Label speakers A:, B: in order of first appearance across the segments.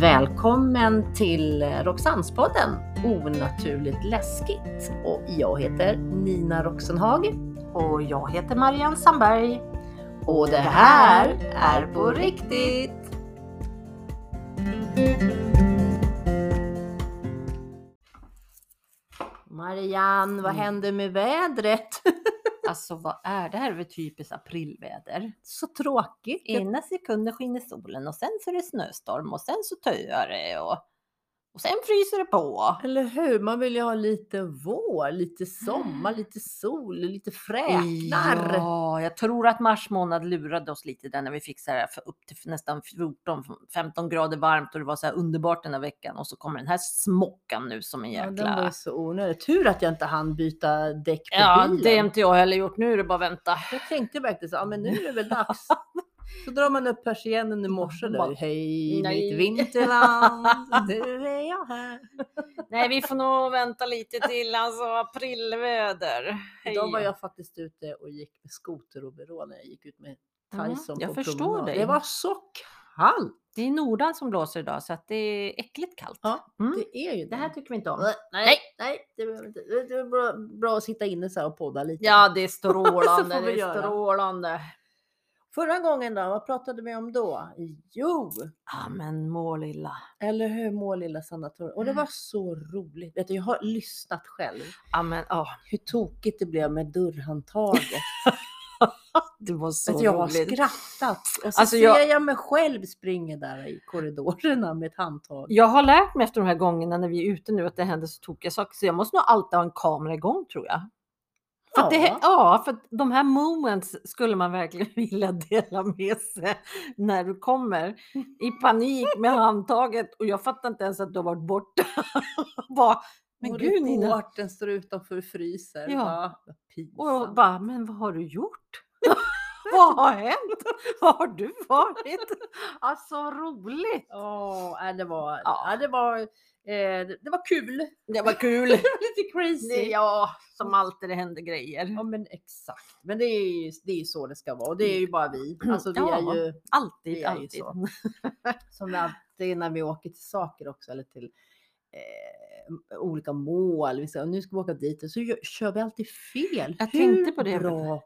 A: Välkommen till Roxannespodden Onaturligt läskigt. Och jag heter Nina Roxenhag.
B: Och jag heter Marianne Sandberg.
A: Och det här är på riktigt! Marianne, vad
B: Mm.
A: händer med vädret?
B: Alltså vad är det här för typiskt aprilväder?
A: Så tråkigt!
B: Ena sekunden skiner solen och sen så är det snöstorm och sen så töar det och, och sen fryser det på.
A: Eller hur? Man vill ju ha lite vår, lite sommar, lite sol, lite fräknar.
B: Mm. Ja, jag tror att mars månad lurade oss lite där när vi fick så här för upp till nästan 14-15 grader varmt och det var så här underbart den här veckan och så kommer den här smockan nu som en
A: Ja, den var ju
B: jäkla...
A: så onödig. Tur att jag inte hann byta däck på
B: Ja,
A: bilen.
B: det har inte jag heller gjort. Nu är det bara att vänta.
A: Jag tänkte verkligen så, ja men nu är det väl dags. Så drar man upp persiennen i morse
B: Bara,
A: då. Hej
B: nej.
A: mitt vinterland, nu är jag här.
B: Nej, vi får nog vänta lite till. Alltså aprilväder.
A: Idag var jag faktiskt ute och gick med skoteroverall när jag gick ut med Tyson
B: Mm, jag
A: på
B: förstår
A: promenad.
B: dig.
A: Det var så kallt.
B: Det är Nordan som blåser idag så att det är äckligt kallt.
A: Ja,
B: Mm.
A: Det är ju det.
B: Det här tycker vi inte om.
A: Nej,
B: Nej.
A: nej, det behöver inte. Det är bra, bra att sitta inne så här och podda lite.
B: Ja, det är
A: Så
B: strålande.
A: får vi
B: det är
A: göra.
B: strålande.
A: Förra gången då, vad pratade vi om då? Jo,
B: Ja, men må lilla.
A: eller hur mår lilla sanatoriet?
B: Mm.
A: Och det var så roligt. Vet du, jag har lyssnat själv
B: Ja, men åh,
A: hur tokigt det blev med dörrhandtaget.
B: det var så
A: Vet du, jag har
B: roligt.
A: skrattat och så
B: Alltså,
A: ser
B: jag-
A: jag... mig själv springa där i korridorerna med ett handtag.
B: Jag har lärt mig efter de här gångerna när vi är ute nu att det händer så tokiga saker så jag måste nog alltid ha en kamera igång tror jag. För ja. Att det, ja, för att de här moments skulle man verkligen vilja dela med sig när du kommer i panik med handtaget och jag fattar inte ens att du har varit borta. Bara, men
A: och
B: gud Nina.
A: reportern står utanför och fryser.
B: Ja.
A: Bara, vad
B: Och jag
A: pinsamt.
B: bara, men vad har du gjort? vad har hänt? Var har du varit? Alltså roligt!
A: Ja, nej, det var,
B: Ja.
A: ja. det var, eh, det- det var kul.
B: Det var kul!
A: Det var lite crazy.
B: ja, som alltid det händer grejer.
A: Ja men exakt. Men det är ju det är ju så det ska vara och det är ju bara vi. Alltså vi
B: Mm. Ja.
A: är ju
B: Alltid,
A: det är ju
B: alltid.
A: så. som vi alltid när vi åker till saker också eller till eh, olika mål. Vi säger nu ska vi åka dit och så gö- kör vi alltid fel.
B: Jag tänkte på det.
A: Hur bra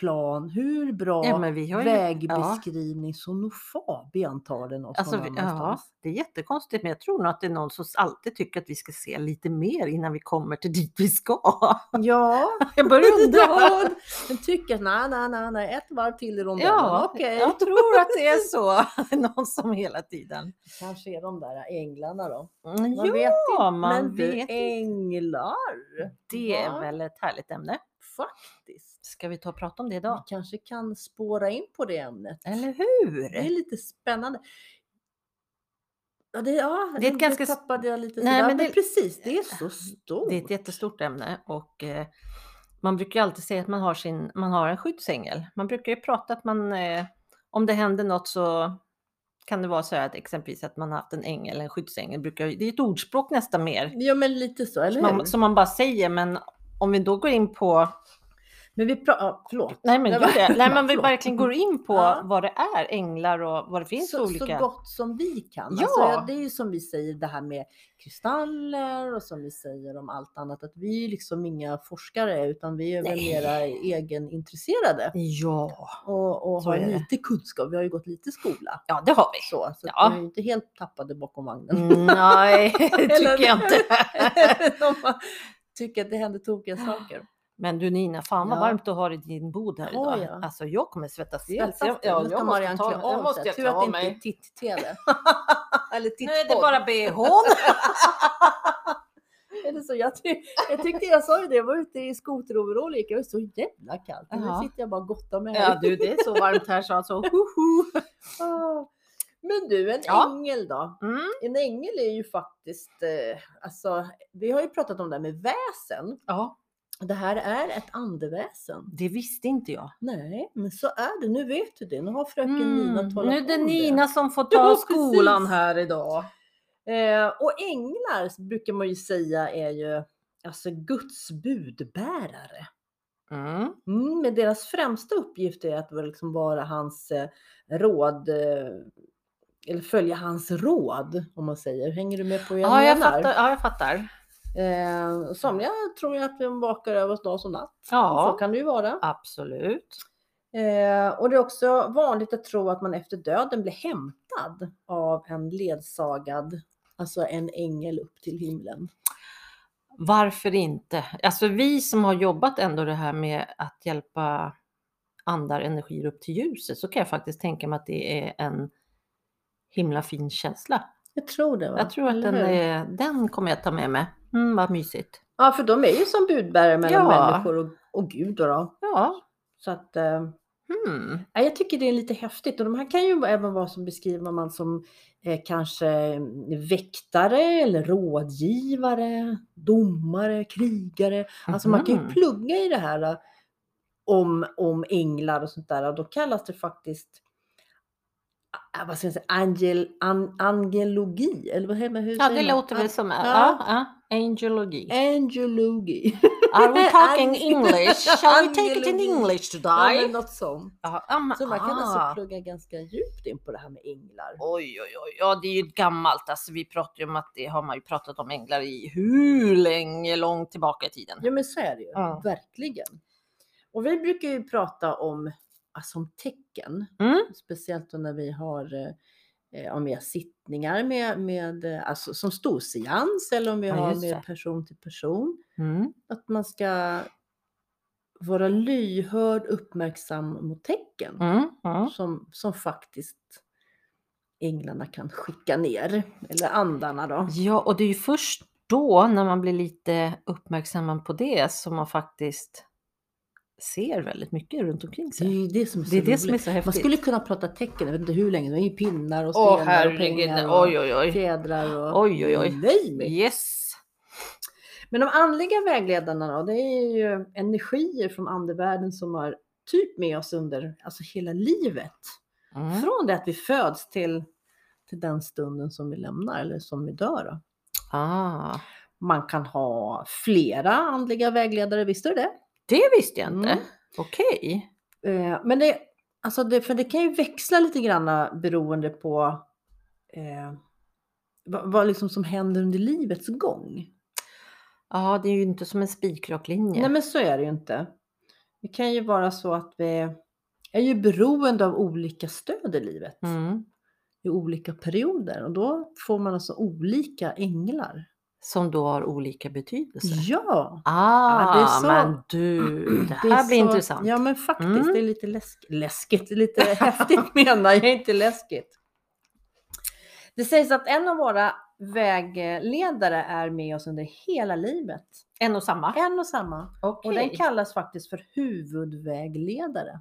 A: plan, hur bra
B: Ja, men vi har ju, ja.
A: vägbeskrivning som nog Fabian tar den åt
B: Alltså,
A: någon
B: vi, ja,
A: annanstans.
B: det är jättekonstigt, men jag tror nog att det är någon som alltid tycker att vi ska se lite mer innan vi kommer till dit vi ska.
A: Ja,
B: Jag börjar undra.
A: Ja, den tycker nej, nej, nej, nej, ett varv till i rondellen.
B: Ja,
A: Okej.
B: jag tror att det är så. Någon som hela tiden.
A: Kanske är de där änglarna då.
B: Mm,
A: Man
B: ja,
A: vet
B: man
A: Men du,
B: vet inte.
A: änglar!
B: Det är
A: va?
B: väl ett härligt ämne.
A: Faktiskt.
B: Ska vi ta och prata om det
A: Vi
B: idag?
A: kanske kan spåra in på det ämnet.
B: Eller
A: Det är
B: hur?
A: lite spännande. Ja, det, ja,
B: Det är ett
A: nu
B: ganska s-
A: tappade jag lite.
B: Nej,
A: sådär,
B: men
A: men
B: det-
A: precis, det är så stort.
B: Det är ett jättestort ämne och eh, man brukar ju alltid säga att man har, sin, man har en skyddsängel. Man brukar ju prata att man, eh, om det händer något så kan det vara så här att exempelvis att man har haft en ängel, en skyddsängel. Brukar, ju- det är ett ordspråk nästan mer,
A: Ja, men lite så, eller hur?
B: man, som man bara säger, men om vi då går in på...
A: Men vi pratar, ja, förlåt.
B: Nej men,
A: Nej,
B: gud,
A: men-
B: nej, men vi
A: förlåt.
B: verkligen går in på
A: Ja.
B: vad det är, änglar och vad det finns för
A: så,
B: olika...
A: så gott som vi kan.
B: Ja.
A: Alltså, det är ju som vi säger det här med kristaller och som vi säger om allt annat att vi är liksom inga forskare utan vi är väl
B: Nej.
A: mera egenintresserade
B: Ja.
A: och, och
B: Så
A: har
B: är det.
A: lite kunskap. Vi har ju gått lite skola.
B: ja, det har vi.
A: Så, så
B: Ja.
A: att vi är ju inte helt tappade bakom vagnen.
B: Nej, det tycker jag inte.
A: Om man tycker att det händer tokiga saker.
B: Men du Nina, fan vad
A: Ja.
B: varmt du har i din bod här
A: Ja,
B: idag.
A: ja.
B: Alltså jag kommer svettas ihjäl.
A: Svettas det? Nu ska Marianne klä av sig. Tur att det inte är titt-tv. Eller
B: Nu är det
A: tittpodd.
B: bara bhn.
A: Eller så, jag, ty- jag tyckte jag sa ju det, jag var ute i skoteroverall och gick, jag var så jävla kallt. Och
B: Ja.
A: Nu sitter jag bara och gottar mig
B: ja
A: här.
B: du, det är så varmt här så alltså. hoho.
A: Ah. Men du, en
B: Ja.
A: ängel då?
B: Mm.
A: En ängel är ju faktiskt, eh, alltså, vi har ju pratat om det här med väsen.
B: Ja,
A: Det här är ett andeväsen.
B: det visste inte jag.
A: Nej, men så är det. Nu vet du det. Nu har fröken
B: Mm.
A: Nina talat
B: Nu är det
A: om
B: Nina som får ta
A: Ja, precis.
B: skolan här idag.
A: Eh, och änglar brukar man ju säga är ju alltså Guds budbärare.
B: Mm.
A: Mm, men deras främsta uppgift är att vara- liksom vara hans eh, råd, eh, eller följa hans råd om man säger. Hänger du med på vad jag
B: Ja, jag
A: menar?
B: fattar. Ja, jag fattar.
A: Eh, somliga tror ju att de vakar över oss dag som natt. Så
B: Ja,
A: kan det ju vara.
B: absolut.
A: Eh, och det är också vanligt att tro att man efter döden blir hämtad av en ledsagad, alltså en ängel upp till himlen.
B: Varför inte? Alltså vi som har jobbat ändå det här med att hjälpa andar energier upp till ljuset så kan jag faktiskt tänka mig att det är en himla fin känsla.
A: Jag tror det va?
B: Jag tror att
A: Eller
B: den,
A: hur?
B: är, den kommer jag ta med mig. Mm, vad mysigt.
A: Ja, för de är ju som budbärare mellan
B: Ja.
A: människor och, och Gud då. då.
B: Ja.
A: Så att, eh,
B: Mm.
A: Ja, Jag tycker det är lite häftigt och de här kan ju även vara som beskriver man som eh, kanske mm, väktare eller rådgivare, domare, krigare. Alltså man kan
B: Mhm.
A: ju plugga i det här eh, om, om änglar och sånt där. Då kallas det faktiskt ah, vad ska jag säga, angel, an, angelogi. Eller vad hur hur
B: Ja, det
A: säger man?
B: låter väl
A: An-
B: som... Ja.
A: ja.
B: ja. Angelologi.
A: Angelogi.
B: Are we talking
A: Ang-
B: English? Shall we take it in
A: Angelologi.
B: English
A: Ja,
B: today?
A: men något sånt.
B: Ja, ja, men-
A: Så man kan
B: ah.
A: alltså plugga ganska djupt in på det här med änglar.
B: Oj, oj, oj. Ja, det är ju gammalt. Alltså, vi pratar ju om att det har man ju pratat om änglar i hur länge, långt tillbaka i tiden.
A: Ja men så är det ju,
B: Ja.
A: verkligen. Och vi brukar ju prata om, alltså, om tecken,
B: Mm.
A: speciellt då när vi har eh, eh, om vi har sittningar med, med eh, alltså, som storseans eller om vi
B: Ja,
A: har
B: just
A: med
B: det.
A: person till person.
B: Mm.
A: Att man ska vara lyhörd, uppmärksam mot tecken
B: Mm. Mm.
A: som, som faktiskt änglarna kan skicka ner, eller andarna då.
B: Ja, och det är ju först då när man blir lite uppmärksam på det som man faktiskt ser väldigt mycket runt omkring
A: Det är
B: sig.
A: ju det som är så
B: Det är det
A: roligt.
B: som är så häftigt.
A: Man skulle kunna prata tecken, jag vet inte hur länge, det är ju pinnar och
B: Åh
A: stenar och
B: herregud,
A: pengar och
B: oj oj oj.
A: fjädrar och
B: Oj oj oj.
A: Nej, men-
B: Yes.
A: Men de andliga vägledarna då, det är ju energier från andevärlden som har typ med oss under alltså hela livet.
B: Mm.
A: Från det att vi föds till, till den stunden som vi lämnar eller som vi dör. Då.
B: Ah,
A: Man kan ha flera andliga vägledare, visste du det?
B: det visste jag inte.
A: Mm.
B: Okej.
A: Eh, men det, alltså det, för det kan ju växla lite grann eh, beroende på eh, vad, vad liksom som händer under livets gång.
B: Ja, det är ju inte som en spikrak linje.
A: Nej men så är det ju inte. Det kan ju vara så att vi är ju beroende av olika stöd i livet
B: mm.
A: i olika perioder och då får man alltså olika änglar.
B: Som då har olika betydelser.
A: Ja!
B: Ah,
A: Ja, det är så-
B: men du, det
A: är
B: här blir
A: så-
B: intressant.
A: Ja men faktiskt,
B: Mm.
A: det är lite läsk läskigt, lite häftigt menar jag, inte läskigt. Det sägs att en av våra vägledare är med oss under hela livet.
B: En och samma.
A: En och samma.
B: Ah, Okej.
A: Och den kallas faktiskt för huvudvägledare.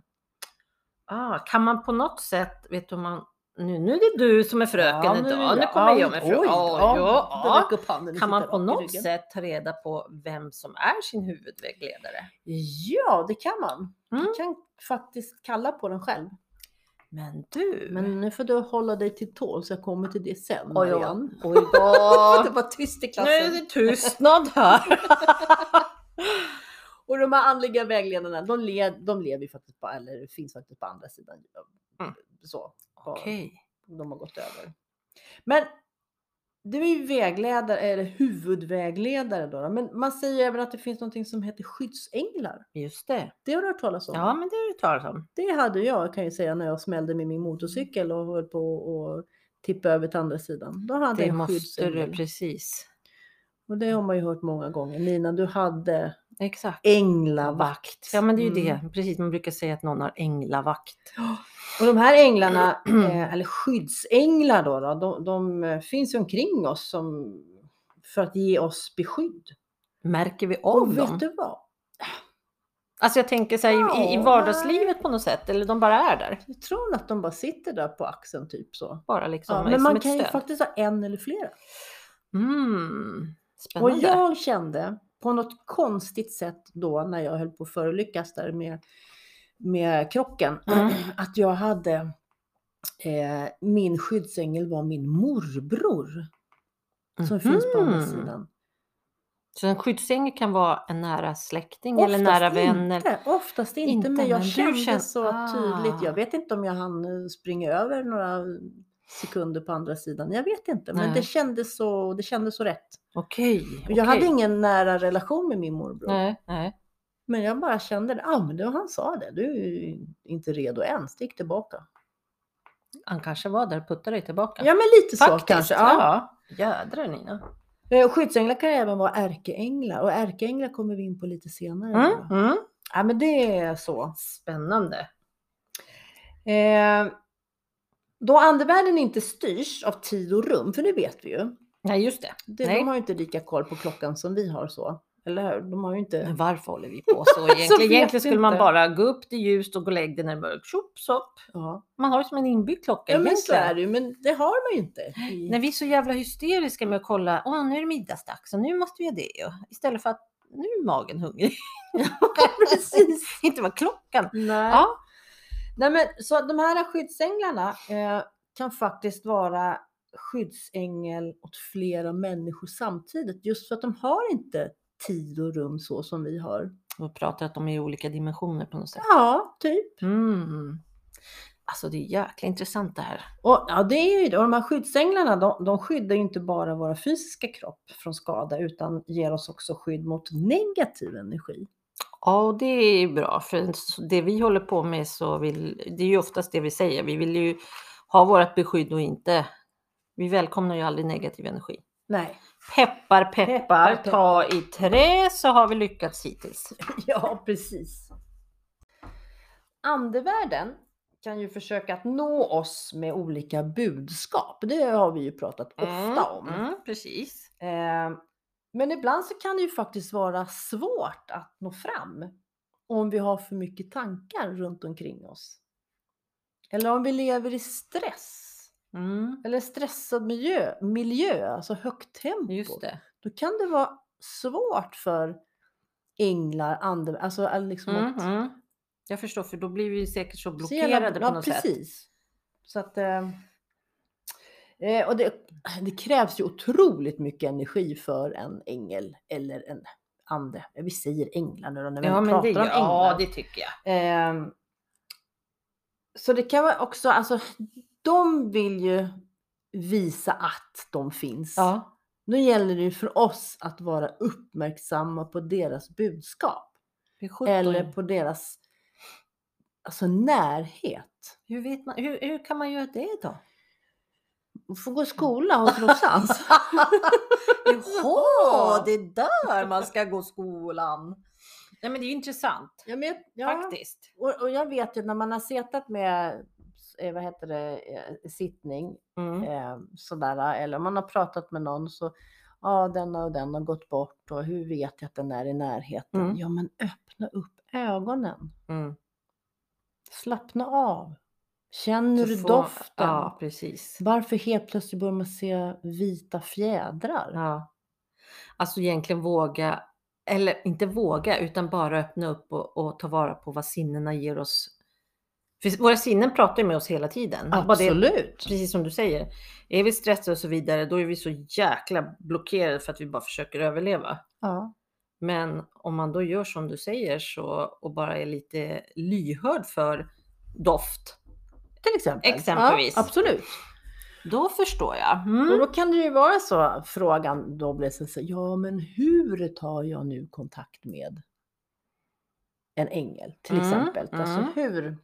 B: ah, kan man på något sätt, vet du om man, nu, nu är det du som är fröken
A: Ja, nu
B: idag,
A: är
B: nu,
A: det
B: kommer
A: ja,
B: jag med fröken.
A: oj,
B: Ja, ja,
A: då räcker upp handen, nu sitter
B: Kan man på
A: jag rak i
B: något
A: ryggen.
B: sätt ta reda på vem som är sin huvudvägledare?
A: Ja, det kan man.
B: Mm.
A: Du kan faktiskt kalla på den själv.
B: Men du.
A: Men nu får du hålla dig till tåls, jag kommer till det sen.
B: Oj, oj,
A: Marianne.
B: oj
A: Det
B: då.
A: var tyst i
B: nu
A: klassen.
B: är det tystnad här.
A: Och de här andliga vägledarna, de, le, de lever ju faktiskt på, eller finns faktiskt på andra sidan. eh,
B: Mm.
A: Så, på-
B: Okej.
A: de har gått över. Men du är ju vägledare, eller huvudvägledare då, då. Men man säger ju även att det finns någonting som heter skyddsänglar.
B: Just det.
A: Det har du hört talas om?
B: Ja, men det har du talat om.
A: Det hade jag kan jag säga när jag smällde med min motorcykel och höll på att tippa över till andra sidan. Då hade
B: Det
A: jag en
B: måste du,
A: skyddsängel.
B: precis.
A: Och det har man ju hört många gånger. Nina, du hade
B: Exakt.
A: änglavakt.
B: Ja men det är ju
A: Mm.
B: det, precis man brukar säga att någon har änglavakt.
A: Och de här änglarna, eh, eller skyddsänglar då, då de, de eh, finns ju omkring oss som, för att ge oss beskydd.
B: Märker vi
A: Och
B: av
A: vet
B: dem?
A: du vad?
B: Alltså jag tänker så här, i, i
A: Ja,
B: vardagslivet på något sätt, eller de bara är där.
A: Jag tror att de bara sitter där på axeln typ så.
B: Bara liksom
A: Ja,
B: som
A: men man
B: ett
A: kan ju
B: stöd.
A: faktiskt ha en eller flera.
B: Mm,
A: Och
B: spännande.
A: jag kände på något konstigt sätt då när jag höll på att förolyckas där med, med krocken,
B: Mm.
A: att jag hade, eh, min skyddsängel var min morbror som finns på andra
B: Mhm.
A: sidan.
B: Så en skyddsängel kan vara en nära släkting eller
A: Oftast
B: nära vänner?
A: Inte, oftast inte,
B: Inte,
A: men
B: men
A: jag
B: du
A: kände
B: känner-
A: så tydligt. Jag
B: Ah.
A: vet inte om jag hann eh, springa över några sekunder på andra sidan. Jag vet inte, men
B: Nej.
A: det kändes, så, det kändes så rätt.
B: Okej.
A: Jag hade
B: okej.
A: ingen nära relation med min morbror,
B: Nej, nej.
A: men jag bara kände det. Ah, men det var han sa det, du är inte redo än, stick tillbaka.
B: Han kanske var där och puttade dig tillbaka.
A: Ja, men lite så
B: Faktiskt,
A: kanske. Ja.
B: Ja. Jädrar Nina.
A: Eh, Skyddsänglar kan även vara ärkeänglar och ärkeänglar kommer vi in på lite senare.
B: Mm,
A: bara.
B: mm.
A: Ja, men det är så.
B: Spännande.
A: Eh, då andevärlden inte styrs av tid och rum, för det vet vi ju.
B: Nej, just det.
A: Det,
B: Nej.
A: de har ju inte lika koll på klockan som vi har så. Eller hur? De har ju inte...
B: Men varför håller vi på så egentligen?
A: vet
B: egentligen skulle man
A: inte.
B: bara gå upp, det är ljust och gå och lägga dig när det är mörkt. Tjopp, sopp.
A: Ja,
B: Man har ju som en inbyggd klocka
A: ja men så
B: egentligen.
A: är det ju. Men det har man ju inte. i-
B: När vi är så jävla hysteriska med att kolla, åh nu är det middagsdags och nu måste vi göra det. och- Istället för att nu är magen hungrig.
A: Precis.
B: Inte vad klockan.
A: Nej.
B: Ja.
A: Nej, men så de här skyddsänglarna eh, kan faktiskt vara skyddsängel åt flera människor samtidigt. Just för att de har inte tid och rum så som vi har.
B: Och pratar att de är i olika dimensioner på något sätt.
A: Ja, typ.
B: Mm. Alltså det är jäkla intressant det här.
A: Och, ja, det är ju det. Och de här skyddsänglarna, de, de skyddar ju inte bara våra fysiska kropp från skada, utan ger oss också skydd mot negativ energi.
B: Ja, och det är ju bra, för det vi håller på med så vill, det är ju oftast det vi säger. Vi vill ju ha vårt beskydd och inte, vi välkomnar ju aldrig negativ energi.
A: Nej.
B: Peppar, peppar,
A: Peppar,
B: ta i trä så har vi lyckats hittills.
A: Ja, precis. Andevärlden kan ju försöka att nå oss med olika budskap. Det har vi ju pratat ofta om.
B: Mm, precis.
A: Eh, men ibland så kan det ju faktiskt vara svårt att nå fram om vi har för mycket tankar runt omkring oss. Eller om vi lever i stress
B: Mm,
A: eller stressad miljö, miljö alltså högt tempo.
B: just det.
A: Då kan det vara svårt för änglar, ande, alltså att liksom
B: Mm,
A: att
B: mm. Jag förstår, för då blir vi säkert så
A: Så jävla-
B: blockerade på
A: ja,
B: något sätt.
A: precis. Så att, eh, eh, och det, det krävs ju otroligt mycket energi för en ängel eller en ande. Vi säger änglar nu då när vi
B: Ja,
A: ändå
B: men
A: pratar
B: det,
A: om änglar.
B: ja, det tycker jag.
A: Ehm, så det kan vara också, alltså de vill ju visa att de finns.
B: Ja,
A: Nu gäller det ju för oss att vara uppmärksamma på deras budskap.
B: det är sjutton.
A: Eller på deras alltså, närhet.
B: hur, vet man, hur, hur kan man göra det då?
A: Man får gå i skola hos Rosans.
B: Jaha, det är där man ska gå skolan. Nej men det är ju intressant
A: ja, men, ja.
B: faktiskt.
A: Och, och jag vet ju när man har setat med eh, vad heter det, eh, sittning
B: Mm.
A: eh, sådär, eller om man har pratat med någon så ja, denna och den har gått bort och hur vet jag att den är i närheten?
B: Mm.
A: Ja, men öppna upp ögonen.
B: Mm.
A: Slappna av. Känner du
B: Så får-
A: doften?
B: Ja, precis.
A: Varför helt plötsligt börjar man se vita fjädrar?
B: Ja. Alltså egentligen våga, eller inte våga, utan bara öppna upp och, och ta vara på vad sinnena ger oss. För våra sinnen pratar ju med oss hela tiden. Bara det-
A: Absolut.
B: precis som du säger, är vi stressade och så vidare, då är vi så jäkla blockerade för att vi bara försöker överleva.
A: Ja.
B: Men om man då gör som du säger så, och bara är lite lyhörd för doft,
A: Till exempel.
B: Exempelvis.
A: Ja, absolut.
B: då förstår jag.
A: Och
B: Mm.
A: då kan det ju vara så, frågan då blir så, så ja men hur tar jag nu kontakt med en ängel till
B: Mm,
A: exempel?
B: mm.
A: Alltså hur,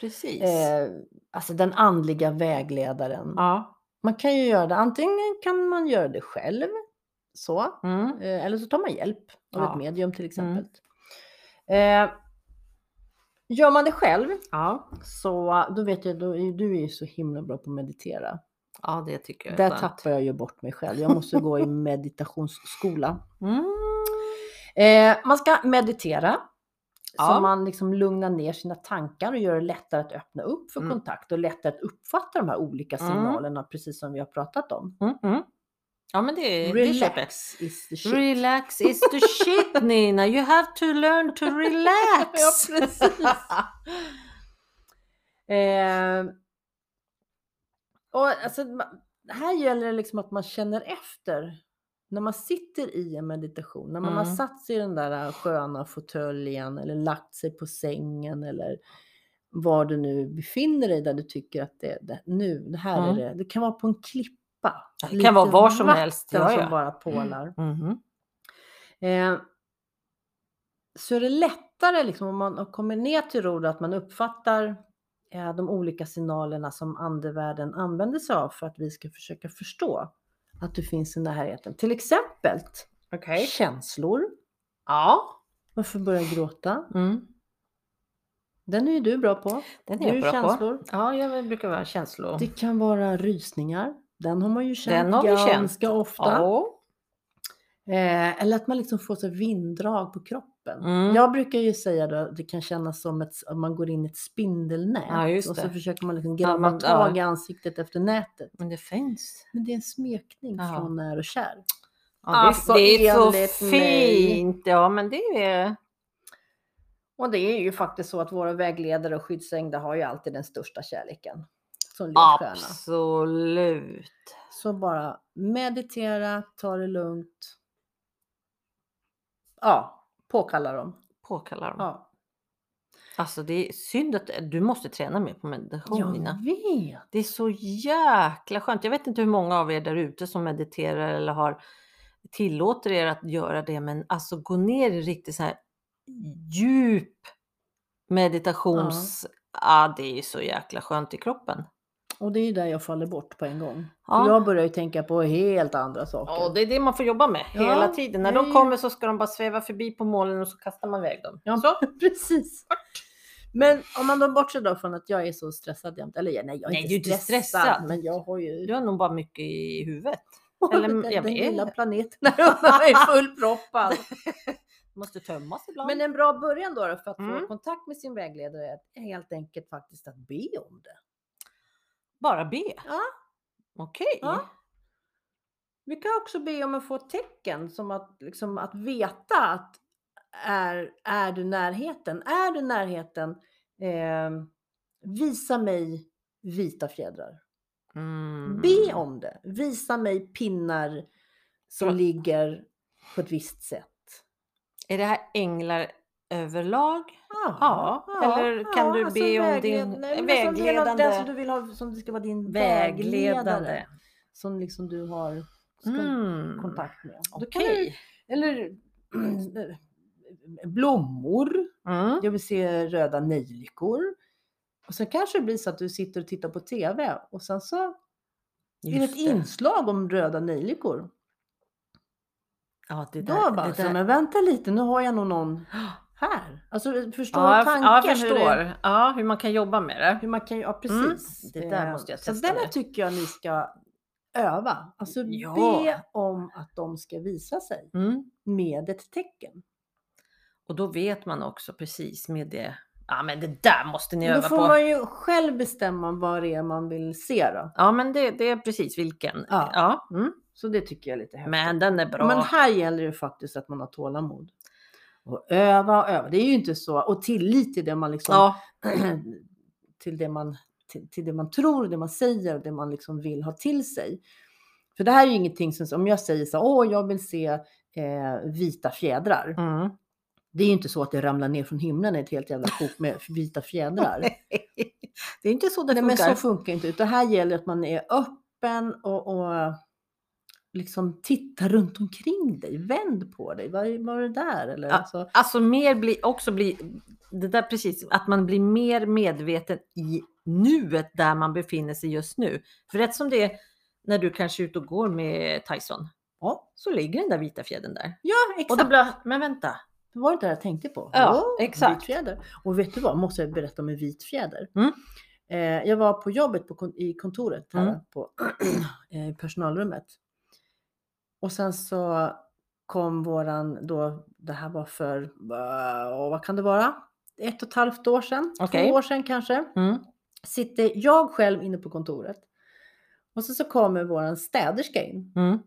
B: Precis.
A: eh, alltså den andliga vägledaren.
B: ja.
A: Man kan ju göra det, antingen kan man göra det själv, så,
B: Mm.
A: Eh, Eller så tar man hjälp av
B: Ja. Mm.
A: ett medium till exempel. Eh, gör man det själv
B: ja.
A: så då vet jag, då, är- du är ju så himla bra på att meditera.
B: Ja, det tycker jag. är
A: Där
B: skönt.
A: tappar jag ju bort mig själv. Jag måste gå i meditationsskola.
B: Mm.
A: Eh, man ska meditera.
B: Ja.
A: Så man liksom lugnar ner sina tankar och gör det lättare att öppna upp för
B: Mm.
A: kontakt och lättare att uppfatta de här olika
B: Mm.
A: signalerna precis som vi har pratat om.
B: Mm, mm. Ja, men det, det köper jag.
A: Relax is the shit.
B: Relax is the shit Nina, you have to learn to relax.
A: Ja, precis. Eh, och alltså, ma- här gäller det liksom att man känner efter. När man sitter i en meditation, när man har
B: Mm.
A: äh, satt sig i den där sköna fåtöljen eller lagt sig på sängen eller var du nu befinner dig där du tycker att det, det nu, det här
B: Mm.
A: är det. Det kan vara på en klippa.
B: Det kan
A: Lite
B: vara var som helst,
A: vatten
B: ja, Mm. ja.
A: som bara pålar.
B: Mhm.
A: Eh, så är det lättare liksom, om man kommer ner till rodet att man uppfattar eh, de olika signalerna som andevärlden använder sig av för att vi ska försöka förstå att du finns i närheten. Till exempel
B: Okej.
A: känslor.
B: Ja.
A: Varför börja gråta?
B: Mm.
A: Den är ju du bra på.
B: Den
A: Du
B: är
A: är ju
B: jag bra på.
A: känslor.
B: Ja, jag brukar vara känslo...
A: Det kan vara rysningar. Den har man ju känt
B: Den har vi känt.
A: ganska ofta.
B: Ja.
A: Eh, eller att man liksom får så här vinddrag på kroppen.
B: Mm.
A: Jag brukar ju säga då, att det kan kännas som ett, om man går in i ett spindelnät
B: Ja, just
A: och så
B: det.
A: försöker man liksom
B: Ja,
A: grabba
B: man- ja.
A: tag i ansiktet efter nätet.
B: Men det finns.
A: Men det är en smekning
B: Ja.
A: från när och kär.
B: Ja, det,
A: Alltså,
B: det är så
A: enligt mig.
B: fint. Ja, men det är...
A: Och det är ju faktiskt så att våra vägledare och skyddsänglar har ju alltid den största kärleken som ledstjärna.
B: Absolut.
A: Så bara meditera, ta det lugnt. Ja, påkalla dem.
B: Påkallar dem.
A: Ja.
B: Alltså det är synd att du måste träna mer på meditation Nina.
A: Jag vet.
B: Det är så jäkla skönt. Jag vet inte hur många av er där ute som mediterar eller har tillåter er att göra det, men alltså gå ner i riktigt så här djup meditations... Ja. det är så jäkla skönt i kroppen.
A: Och det är ju där jag faller bort på en gång.
B: Ja.
A: För jag börjar ju tänka på helt andra saker.
B: Ja, det är det man får jobba med
A: Ja,
B: hela tiden. När
A: det är
B: de
A: ju-
B: kommer så ska de bara sväva förbi på molnen och så kastar man iväg dem.
A: Ja,
B: Så.
A: precis. Men om man då bortser då från att jag är så stressad jämt, eller ja, nej jag är
B: Nej,
A: inte
B: du är inte
A: stressad,
B: stressad.
A: men jag har ju
B: Du har nog bara mycket i huvudet. eller-
A: eller, den,
B: jag
A: den
B: vet.
A: lilla planeten här uppe är fullproppad.
B: Måste tömmas ibland.
A: Men en bra början då, då för att
B: Mm.
A: få kontakt med sin vägledare är helt enkelt faktiskt att be om det.
B: Bara be?
A: Ja.
B: Okej.
A: Ja. Vi kan också be om att få ett tecken som att, liksom, att veta att är, är du närheten? Är du närheten? Eh, visa mig vita fjädrar.
B: Mm.
A: Be om det. Visa mig pinnar som
B: Bra.
A: ligger på ett visst sätt.
B: Är det här änglar överlag?
A: Ja, alltså
B: eller kan du be om din
A: nej, men som del av Den
B: vägledande-
A: som du vill ha som det ska vara din vägledare.
B: Vägledande.
A: Som liksom du har ska
B: Mm.
A: kontakt med. Då kan du
B: Okej.
A: Eller blommor.
B: Mm.
A: Jag vill se röda nejlikor. Och sen kanske det blir så att du sitter och tittar på TV och sen så är det
B: Just
A: ett
B: det.
A: inslag om röda nejlikor.
B: Ja, det
A: Då
B: där,
A: bara,
B: det
A: så,
B: där.
A: men vänta lite, nu har jag nog någon här. Alltså förstår
B: Ja,
A: du
B: jag,
A: tanken?
B: ja, jag
A: hur
B: förstår.
A: det-
B: Ja, hur man kan jobba med det.
A: Hur man kan, ja precis.
B: Mm, det där
A: Eh,
B: måste jag
A: Så
B: testa
A: den här
B: nu.
A: tycker jag ni ska öva. Alltså
B: Ja.
A: be om att de ska visa sig
B: Mm.
A: med ett tecken.
B: Och då vet man också precis med det. Ja, men det där måste ni
A: Då
B: öva
A: får
B: på.
A: man ju själv bestämma vad det är man vill se då.
B: Ja, men det, det är precis vilken.
A: Ja.
B: Mm.
A: Så det tycker jag är lite häftigt.
B: Men den är bra.
A: Men här gäller det faktiskt att man har tålamod. Och öva och öva. Det är ju inte så. Och tillit till det man liksom...
B: ja.
A: till, det man, till, till det man tror, det man säger och det man liksom vill ha till sig. För det här är ju ingenting som... Om jag säger så här, åh, jag vill se eh, vita fjädrar.
B: Mm.
A: Det är ju inte så att det ramlar ner från himlen i ett helt jävla kok med vita fjädrar.
B: Det är inte så det
A: Nej, men
B: funkar.
A: så funkar inte. Utan här gäller att man är öppen och, och liksom tittar runt omkring dig. Vänd på dig. Var, var det där? Eller,
B: Ja.
A: så,
B: Alltså mer bli, också bli, det där precis, att man blir mer medveten i nuet där man befinner sig just nu. För rätt som det är, när du kanske är ute och går med Tyson,
A: ja,
B: så ligger den där vita fjädern där.
A: ja,
B: Och
A: exakt.
B: då blir men vänta.
A: Det var det där jag tänkte på.
B: Ja,
A: Åh,
B: exakt.
A: Vit fjäder. Och vet du vad, måste jag berätta om en vit fjäder.
B: Mm.
A: Eh, jag var på jobbet på, kon- i kontoret här
B: Mm.
A: på eh, personalrummet. Och sen så kom våran då, det här var för, eh, vad kan det vara? Ett och ett halvt år sedan,
B: Okej.
A: två år sedan kanske
B: Mm.
A: sitter jag själv inne på kontoret. Och så, så kommer våran städerska in.
B: Mm.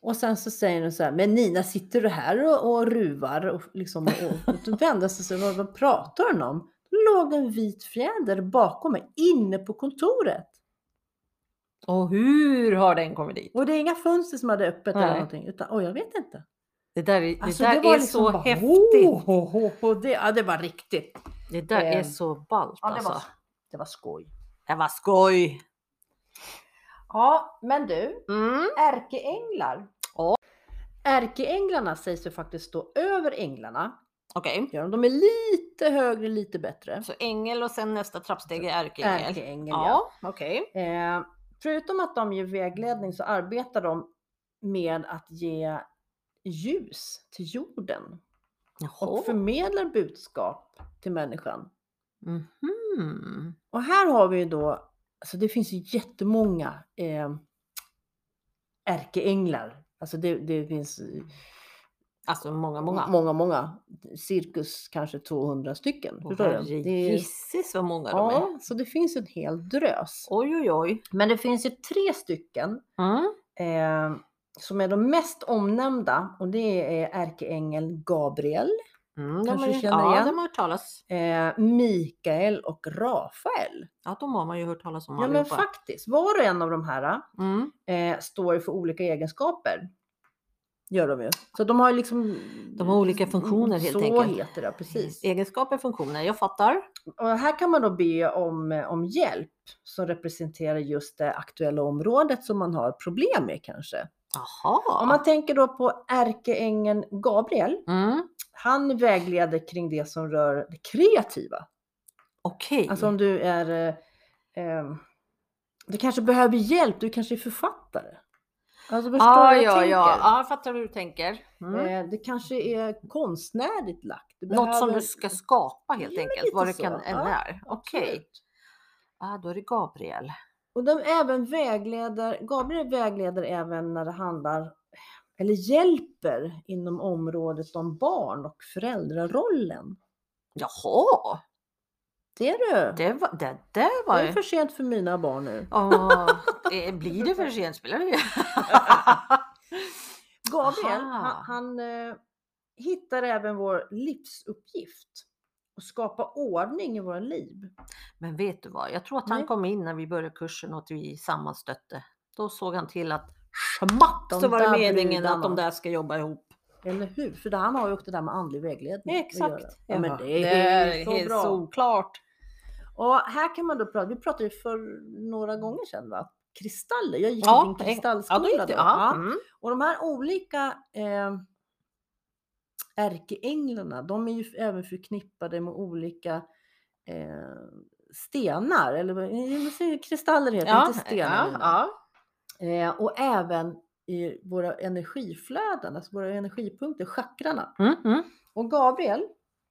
A: Och sen så säger hon så här, men Nina sitter du här och, och ruvar? Och liksom, och, och då vände sig så, vad, vad pratar hon om? Då låg en vit fjäder bakom mig inne på kontoret.
B: Och hur har den kommit dit?
A: Och det är inga fönster som hade öppet
B: Nej.
A: eller någonting. Utan, och jag vet inte.
B: Det där, är- det
A: Alltså,
B: där
A: det var
B: är
A: liksom
B: så
A: bara,
B: häftigt.
A: "Ho, ho, ho, ho." det, ja, det var riktigt.
B: Det där är
A: Eh,
B: så ballt
A: Ja, det,
B: alltså.
A: var, det var skoj.
B: Det var skoj!
A: Ja, men du,
B: Mm.
A: ärkeänglar.
B: Ja.
A: Ärkeänglarna sägs ju faktiskt stå över änglarna.
B: Okej,
A: Gör de. de är lite högre, lite bättre.
B: så ängel och sen nästa trappsteg är ärkeängel.
A: Ärkeängel, ja.
B: Ja, okej.
A: Eh, förutom att de ger vägledning så arbetar de med att ge ljus till jorden och
B: Jaha.
A: förmedlar budskap till människan.
B: Mhm.
A: Och här har vi ju då, alltså det finns ju jättemånga eh, ärkeänglar. Alltså det, det finns eh,
B: Alltså många, många.
A: många, många. Cirkus kanske 200 stycken.
B: Åh,
A: Förstår du? Det är,
B: Herregisses vad många de är.
A: ja, så det finns en hel drös.
B: Oj, oj, oj.
A: Men det finns ju tre stycken
B: Mm.
A: eh, som är de mest omnämnda och det är ärkeängeln Gabriel,
B: Mm, de
A: Kanske
B: har ju,
A: du känner
B: ja,
A: igen?
B: de har hört talas.
A: eh, Mikael och Rafael.
B: Ja, de har man ju hört talas om
A: Ja men faktiskt, var och en av de här
B: mm.
A: eh, står ju för olika egenskaper. Gör de ju. Så de har ju liksom...
B: De har olika funktioner, helt
A: så
B: enkelt. E-
A: Så heter det, precis.
B: Egenskaper, funktioner, jag fattar.
A: Och här kan man då be om, eh, om hjälp som representerar just det aktuella området som man har problem med kanske.
B: Jaha.
A: Om man tänker då på ärkeängeln Gabriel.
B: Mm.
A: Han vägleder kring det som rör det kreativa.
B: Okej.
A: Alltså om du är... Eh, eh, du kanske behöver hjälp, du kanske är författare. Alltså förstår du
B: ah,
A: vad jag
B: ja,
A: tänker?
B: ja, ja, jag fattar hur du tänker. Mm.
A: Eh, Det kanske är konstnärligt lagt. Du
B: Något som
A: behöver-
B: du ska skapa helt
A: Ja, men
B: enkelt,
A: lite
B: vad det
A: så.
B: kan än
A: Ja,
B: är. Okej,
A: Absolut.
B: ah, då är det Gabriel.
A: Och de även vägleder, Gabriel vägleder även när det handlar, eller hjälper inom området om barn och föräldrarollen.
B: Jaha,
A: Det är du!
B: det, var, det där
A: Det
B: var
A: är
B: ju...
A: för sent för mina barn nu.
B: Åh, eh, blir det för sent spelar det ju.
A: Gabriel,
B: Aha.
A: han, han eh, hittar även vår livsuppgift och skapa ordning i våra liv.
B: Men vet du vad, jag tror att han
A: Nej.
B: kom in när vi började kursen och att vi sammanstötte. Då såg han till att schmack
A: De
B: så var det
A: där
B: meningen att
A: brudarna.
B: de där ska jobba ihop.
A: Eller hur? För det, han har ju också det där med andlig vägledning. att
B: Exakt.
A: göra. Ja, men det är, så
B: helt
A: bra.
B: solklart.
A: Och här kan man då prata, vi pratade ju för några gånger sedan va? Kristaller, jag gick
B: Ja,
A: i min
B: eh,
A: kristallskola
B: Ja, då gick det.
A: Ja.
B: Ja. Mm.
A: Och de här olika eh, ärkeänglarna, de är ju även förknippade med olika eh, stenar, eller vad- eh, vad säger- kristaller heter
B: Ja,
A: inte stenar.
B: ja,
A: menar jag.
B: ja.
A: Eh, och även i våra energiflöden, alltså våra energipunkter, chakrarna.
B: Mm, mm.
A: Och Gabriel,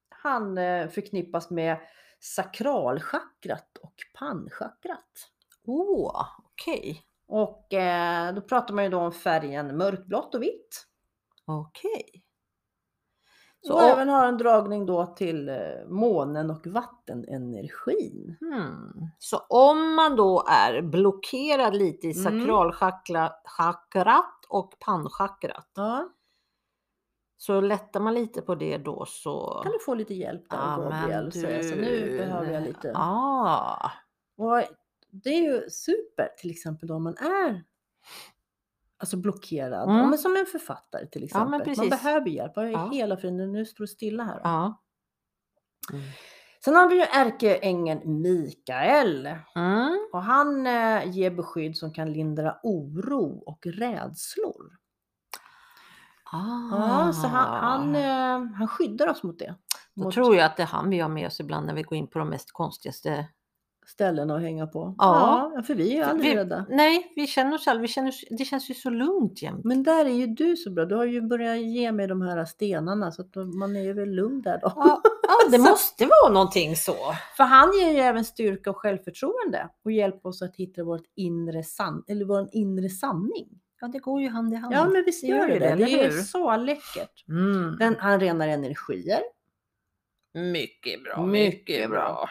A: han eh, förknippas med sakralchakrat och pannchakrat.
B: Åh, okej.
A: Och eh, då pratar man ju då om färgen mörkblått och vitt.
B: Okej.
A: Så
B: Så-
A: och även har en dragning då till eh, månen och vattenenergin.
B: Hmm. Så om man då är blockerad lite i
A: Mm.
B: sakralchakrat och pannchakrat
A: Ja,
B: så lättar man lite på det då så...
A: kan du få lite hjälp där
B: Ja, men
A: Gabriel? och säga Så nu
B: du.
A: behöver jag lite.
B: Ah.
A: Och det är ju super till exempel då om man är alltså blockerad.
B: Mm.
A: Ja, men som en författare till
B: Ja, men
A: exempel. man
B: precis.
A: behöver hjälp. Vad är
B: Ja.
A: hela friden? Nu står det stilla här.
B: Ja.
A: Sen har vi ju ärkeängeln Mikael
B: Mm.
A: och han eh, ger beskydd som kan lindra oro och rädslor.
B: Ah.
A: Ja, så han, han, eh, han skyddar oss mot det.
B: Då
A: mot
B: tror jag att det är han vi har med oss ibland när vi går in på de mest konstigaste.
A: ställen att hänga på.
B: Ja.
A: ja för vi är ju aldrig
B: vi,
A: rädda.
B: Nej, vi känner oss själva. Vi känner, oss- det känns ju så lugnt jämt.
A: Men där är ju du så bra. Du har ju börjat ge mig de här stenarna så att man är ju väl lugn där då.
B: Ja, ja, det måste vara någonting så.
A: För han ger ju även styrka och självförtroende och hjälper oss att hitta vårt inre san- eller vår inre sanning.
B: Ja, det går ju hand i hand.
A: Ja, men visst
B: Det gör
A: gör
B: ju
A: det
B: det,
A: det.
B: eller
A: Det är
B: hur?
A: så läckert.
B: Mm.
A: Den, han renar energier
B: Mycket bra.
A: Mycket bra.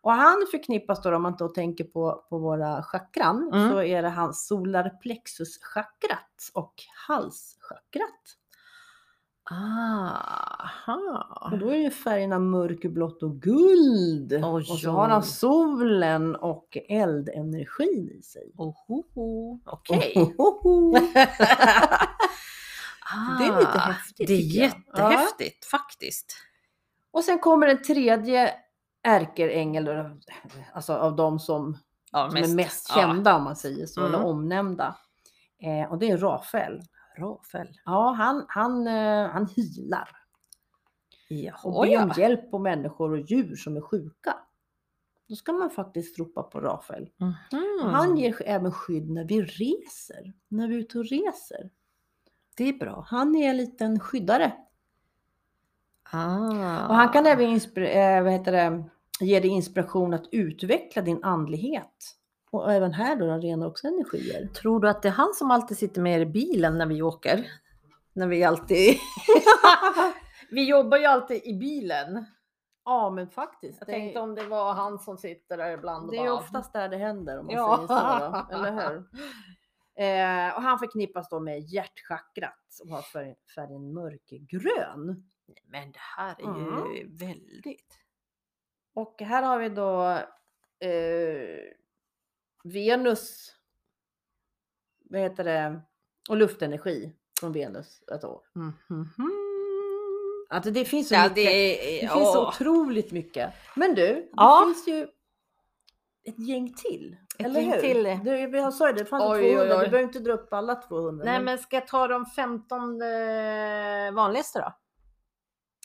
A: och han förknippas då om man då tänker på, på våra chakran
B: Mm.
A: så är det hans solarplexuschakrat och halschakrat.
B: Aha.
A: Och då är ju färgerna mörkblått och guld. och
B: Ah. Oj,
A: så har han
B: oj.
A: solen och eldenergin i sig.
B: Ohoho. Okej.
A: Ohoho.
B: Ah,
A: Det är lite häftigt,
B: Det är
A: tycker jag.
B: jättehäftigt faktiskt.
A: Och sen kommer den tredje ärkeängel, eller, alltså av de som,
B: Ja,
A: som är mest
B: ja.
A: kända om man säger så, eller
B: Mm.
A: omnämnda. Eh, och det är Rafael.
B: Rafael.
A: Ja, han, han, eh, han healar och
B: Jaha,
A: ber om
B: ja.
A: hjälp på människor och djur som är sjuka. Då ska man faktiskt ropa på Rafael.
B: Mhm.
A: Och Han ger även skydd när vi reser, när vi är ute och reser.
B: Det är bra.
A: Han är en liten skyddare.
B: Ah.
A: Och han kan även inspir- eh, vad heter det, ge dig inspiration att utveckla din andlighet. Och även här då, den renar också energier.
B: Tror du att det är han som alltid sitter med er i bilen när vi åker? När vi alltid... vi jobbar ju alltid i bilen.
A: Ja, men faktiskt.
B: Jag
A: det är-
B: tänkte om det var han som sitter där ibland och
A: Det är
B: bara, "Mm."
A: oftast där det händer om man
B: Ja.
A: säger så. Då, eller hur? Eh, och han förknippas då med hjärtchakrat och har fär- färgen mörkgrön.
B: Men det här är ju väldigt...
A: Och här har vi då eh, Venus. Vad heter det? Och luftenergi från Venus. Alltså, alltså det finns så
B: Mm-hmm. Ja,
A: mycket.
B: det,
A: Det,
B: är-
A: finns så
B: ja.
A: otroligt mycket. Men du, det
B: Ja.
A: finns ju ett gäng till.
B: Ett
A: eller
B: gäng
A: hur?
B: till.
A: Du, jag sa ju det, det fanns
B: Oj, oj,
A: 200.
B: oj.
A: Du behöver inte dra upp alla 200.
B: Nej men ska jag ta de 15 eh, vanligaste då?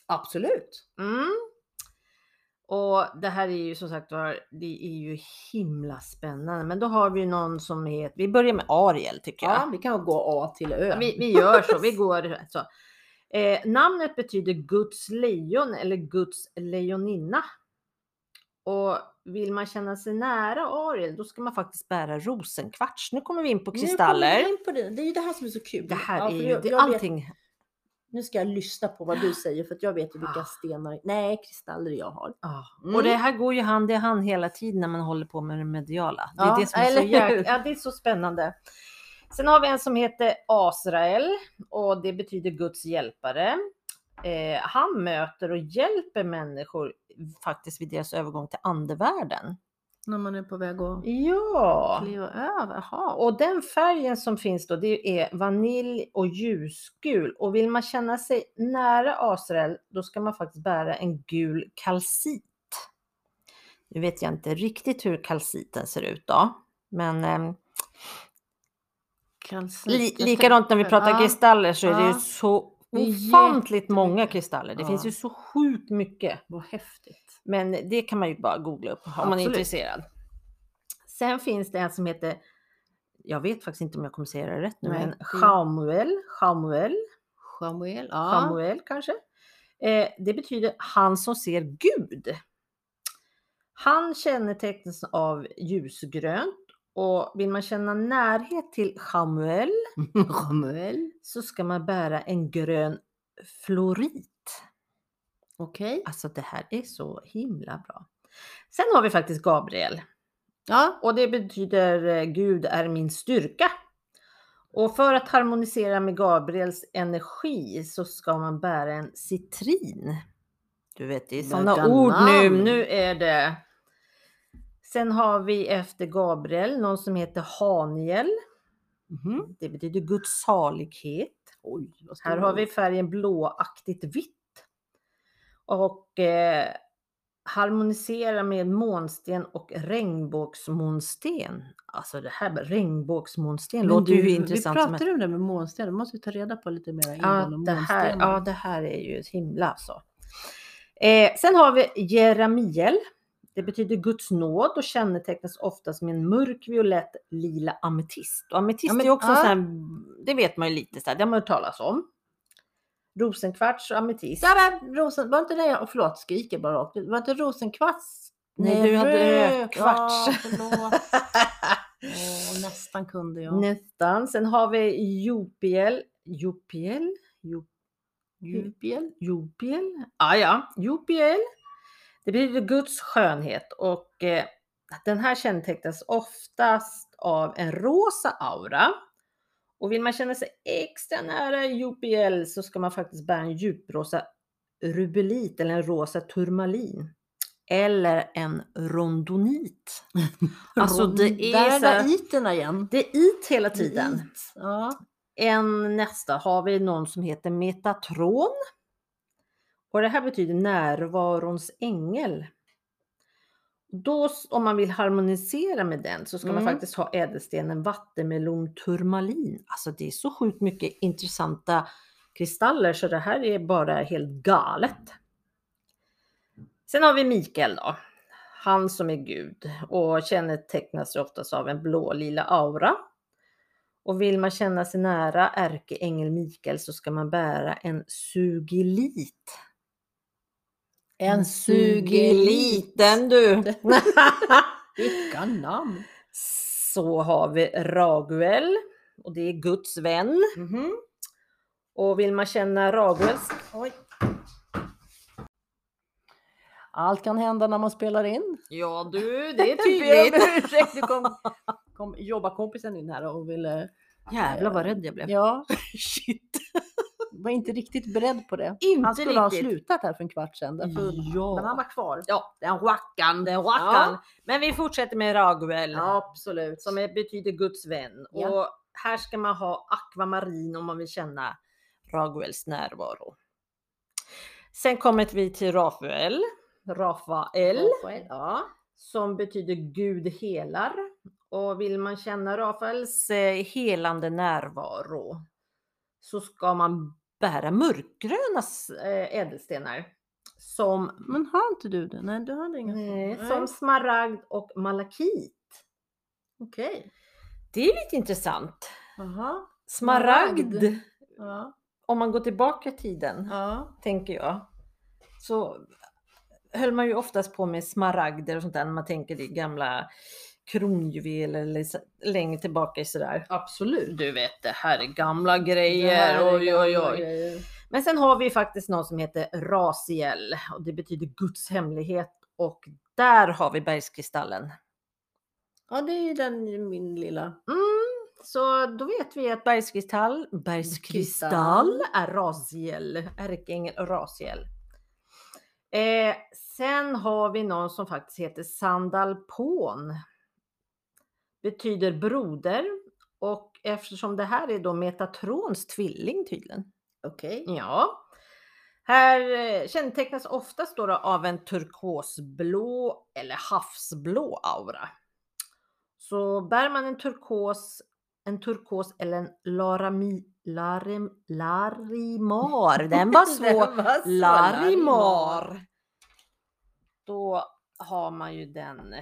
A: Absolut.
B: Mm. Och det här är ju som sagt var, det är ju himla spännande. Men då har vi någon som heter, vi börjar med Ariel tycker
A: Ja.
B: jag.
A: vi kan gå A till Ö.
B: Vi, vi gör så, vi går så. Eh, namnet betyder Guds lejon eller Guds lejoninna. Och vill man känna sig nära Ariel, då ska man faktiskt bära rosenkvarts. Nu kommer vi in på
A: Nu kommer vi
B: kristaller.
A: in på det. det är ju det här som är så kul.
B: Det här
A: Ja,
B: är
A: för
B: ju,
A: jag-
B: det,
A: jag vet-
B: allting.
A: Nu ska jag lyssna på vad du säger för att jag vet ju vilka
B: Ah.
A: stenar, nej kristaller jag har.
B: Ja.
A: Mm.
B: Och det här går ju hand i hand hela tiden när man håller på med det mediala. Det är
A: Ja,
B: det som är så
A: eller hur?
B: jäk... ja, det är så spännande. Sen har vi en som heter Asrael och det betyder Guds hjälpare. Eh, han möter och hjälper människor faktiskt vid deras övergång till andevärlden.
A: När man är på väg att
B: Ja,
A: kliva över, jaha.
B: och den färgen som finns då det är vanilj och ljusgul och vill man känna sig nära Asrael då ska man faktiskt bära en gul kalcit. Nu vet jag inte riktigt hur kalciten ser ut då, men ehm,
A: Kalcit.
B: li- likadant när vi pratar
A: Ja.
B: kristaller så är det ju
A: Ja.
B: så
A: Det är
B: ofantligt många
A: jättemycket.
B: kristaller. Det
A: Ja.
B: finns ju så sjukt mycket.
A: Vad häftigt.
B: Men det kan man ju bara googla upp om man är
A: Absolut.
B: intresserad. Sen finns det en som heter, jag vet faktiskt inte om jag kommer säga det rätt nu,
A: Nej,
B: men
A: det-
B: Chamuel, Chamuel,
A: Samuel, ja.
B: Chamuel kanske. Eh, det betyder han som ser Gud. Han kännetecknas av ljusgrönt och vill man känna närhet till Chamuel
A: Samuel.
B: så ska man bära en grön florit.
A: Okej.
B: Alltså det här är så himla bra. Sen har vi faktiskt Gabriel.
A: Ja.
B: Och det betyder eh, Gud är min styrka. Och för att harmonisera med Gabriels energi så ska man bära en citrin. Du vet, det är sådana
A: Vilka
B: ord nu.
A: namn!
B: Nu är det. Sen har vi efter Gabriel någon som heter Haniel.
A: Mhm.
B: Det betyder Guds salighet.
A: Oj, vad stor
B: Här har vi
A: ord.
B: färgen blåaktigt vitt. Och eh, harmonisera med månsten och regnbågsmånsten. Alltså det här med regnbågsmånsten
A: Men
B: låter
A: du,
B: ju intressant.
A: Vi
B: som
A: pratade om det med månstenar, då måste vi ta reda på lite mer
B: Ja,
A: ingående om
B: det här,
A: månstenar.
B: ja, det här är ju ett himla alltså. Eh, sen har vi Jeramiel. Det betyder Guds nåd och kännetecknas oftast med en mörk violett lila ametist. Och ametist
A: Ja, men-
B: är också
A: ja.
B: så här, det vet man ju lite så här, det har man hört talas om. Rosenkvarts och ametist.
A: Där är rosen, var inte det jag, förlåt skriker bara rakt ut. Var inte rosenkvarts?
B: Nej, du hade rödkvarts.
A: Ja, förlåt. Åh, nästan kunde jag.
B: Nästan. Sen har vi Jopiel. Jopiel? Jop-
A: Jubiel.
B: Jopiel? Ah, ja, Jopiel. Det betyder Guds skönhet och eh, den här kännetecknas oftast av en rosa aura. Och vill man känna sig extra nära Jopiel så ska man faktiskt bära en djuprosa rubelit eller en rosa turmalin. Eller en rondonit. Alltså, det är
A: Där
B: så här-
A: var iterna igen.
B: Det är it hela tiden.
A: It. Ja.
B: En nästa har vi någon som heter Metatron. Och det här betyder närvarons ängel. Då, s- om man vill harmonisera med den så ska man
A: Mm.
B: faktiskt ha ädelstenen vattenmelon turmalin. Alltså det är så sjukt mycket intressanta kristaller så det här är bara helt galet. Sen har vi Mikael då. Han som är Gud och kännetecknas oftast av en blålila aura. Och vill man känna sig nära ärkeängel Mikael så ska man bära en sugilit.
A: En
B: Sugeliten, du!
A: Vilka namn!
B: Så har vi Raguel och det är Guds vän.
A: Mhm.
B: Och vill man känna Raguels...
A: Oj. Allt kan hända när man spelar in.
B: Ja du, det är
A: Jag ber om
B: tydligt.
A: ursäkt, nu kom, kom jobbarkompisen in här och ville...
B: Jävlar vad rädd jag blev.
A: Ja,
B: Shit.
A: var inte riktigt beredd på det.
B: Inte
A: Han skulle ha
B: riktigt.
A: slutat här för en kvart sedan. Därför,
B: Ja.
A: Men han var kvar.
B: ja, den rackan, den rackan. Men vi fortsätter med Raguel.
A: absolut.
B: Som är, betyder Guds vän.
A: Ja.
B: Och här ska man ha akvamarin om man vill känna Raguels närvaro. Sen kommer vi till Rafael. Rafael.
A: Ja.
B: som betyder Gud helar. Och vill man känna Rafaels eh, helande närvaro så ska man bära mörkgröna s- eh, ädelstenar som,
A: Men har inte du det? Nej, du hade inga.
B: eh,
A: Nej.
B: som smaragd och malakit.
A: Okej.
B: Det är lite intressant.
A: Jaha.
B: Smaragd,
A: Smaragd. Ja.
B: om man går tillbaka i tiden,
A: ja.
B: tänker jag, så höll man ju oftast på med smaragder och sånt där när man tänker i gamla kronjuveler eller s- längre tillbaka i sådär.
A: Absolut.
B: Du vet, det här är gamla
A: Det här
B: grejer.
A: är
B: Oj, oj,
A: gamla
B: oj.
A: grejer.
B: Men sen har vi faktiskt någon som heter Rasiel och det betyder Guds hemlighet och där har vi bergskristallen.
A: Ja, det är ju den min lilla.
B: Mm, så då vet vi att bergskristall, bergskristall är Rasiel, ärkeängel Rasiel. Eh, sen har vi någon som faktiskt heter Sandalpon. Betyder broder och eftersom det här är då Metatrons tvilling tydligen.
A: Okej.
B: Ja. Här eh, kännetecknas oftast då då av en turkosblå eller havsblå aura. Så bär man en turkos, en turkos eller en larami, larim, larimar, den var svår. Larimar. Då har man ju den.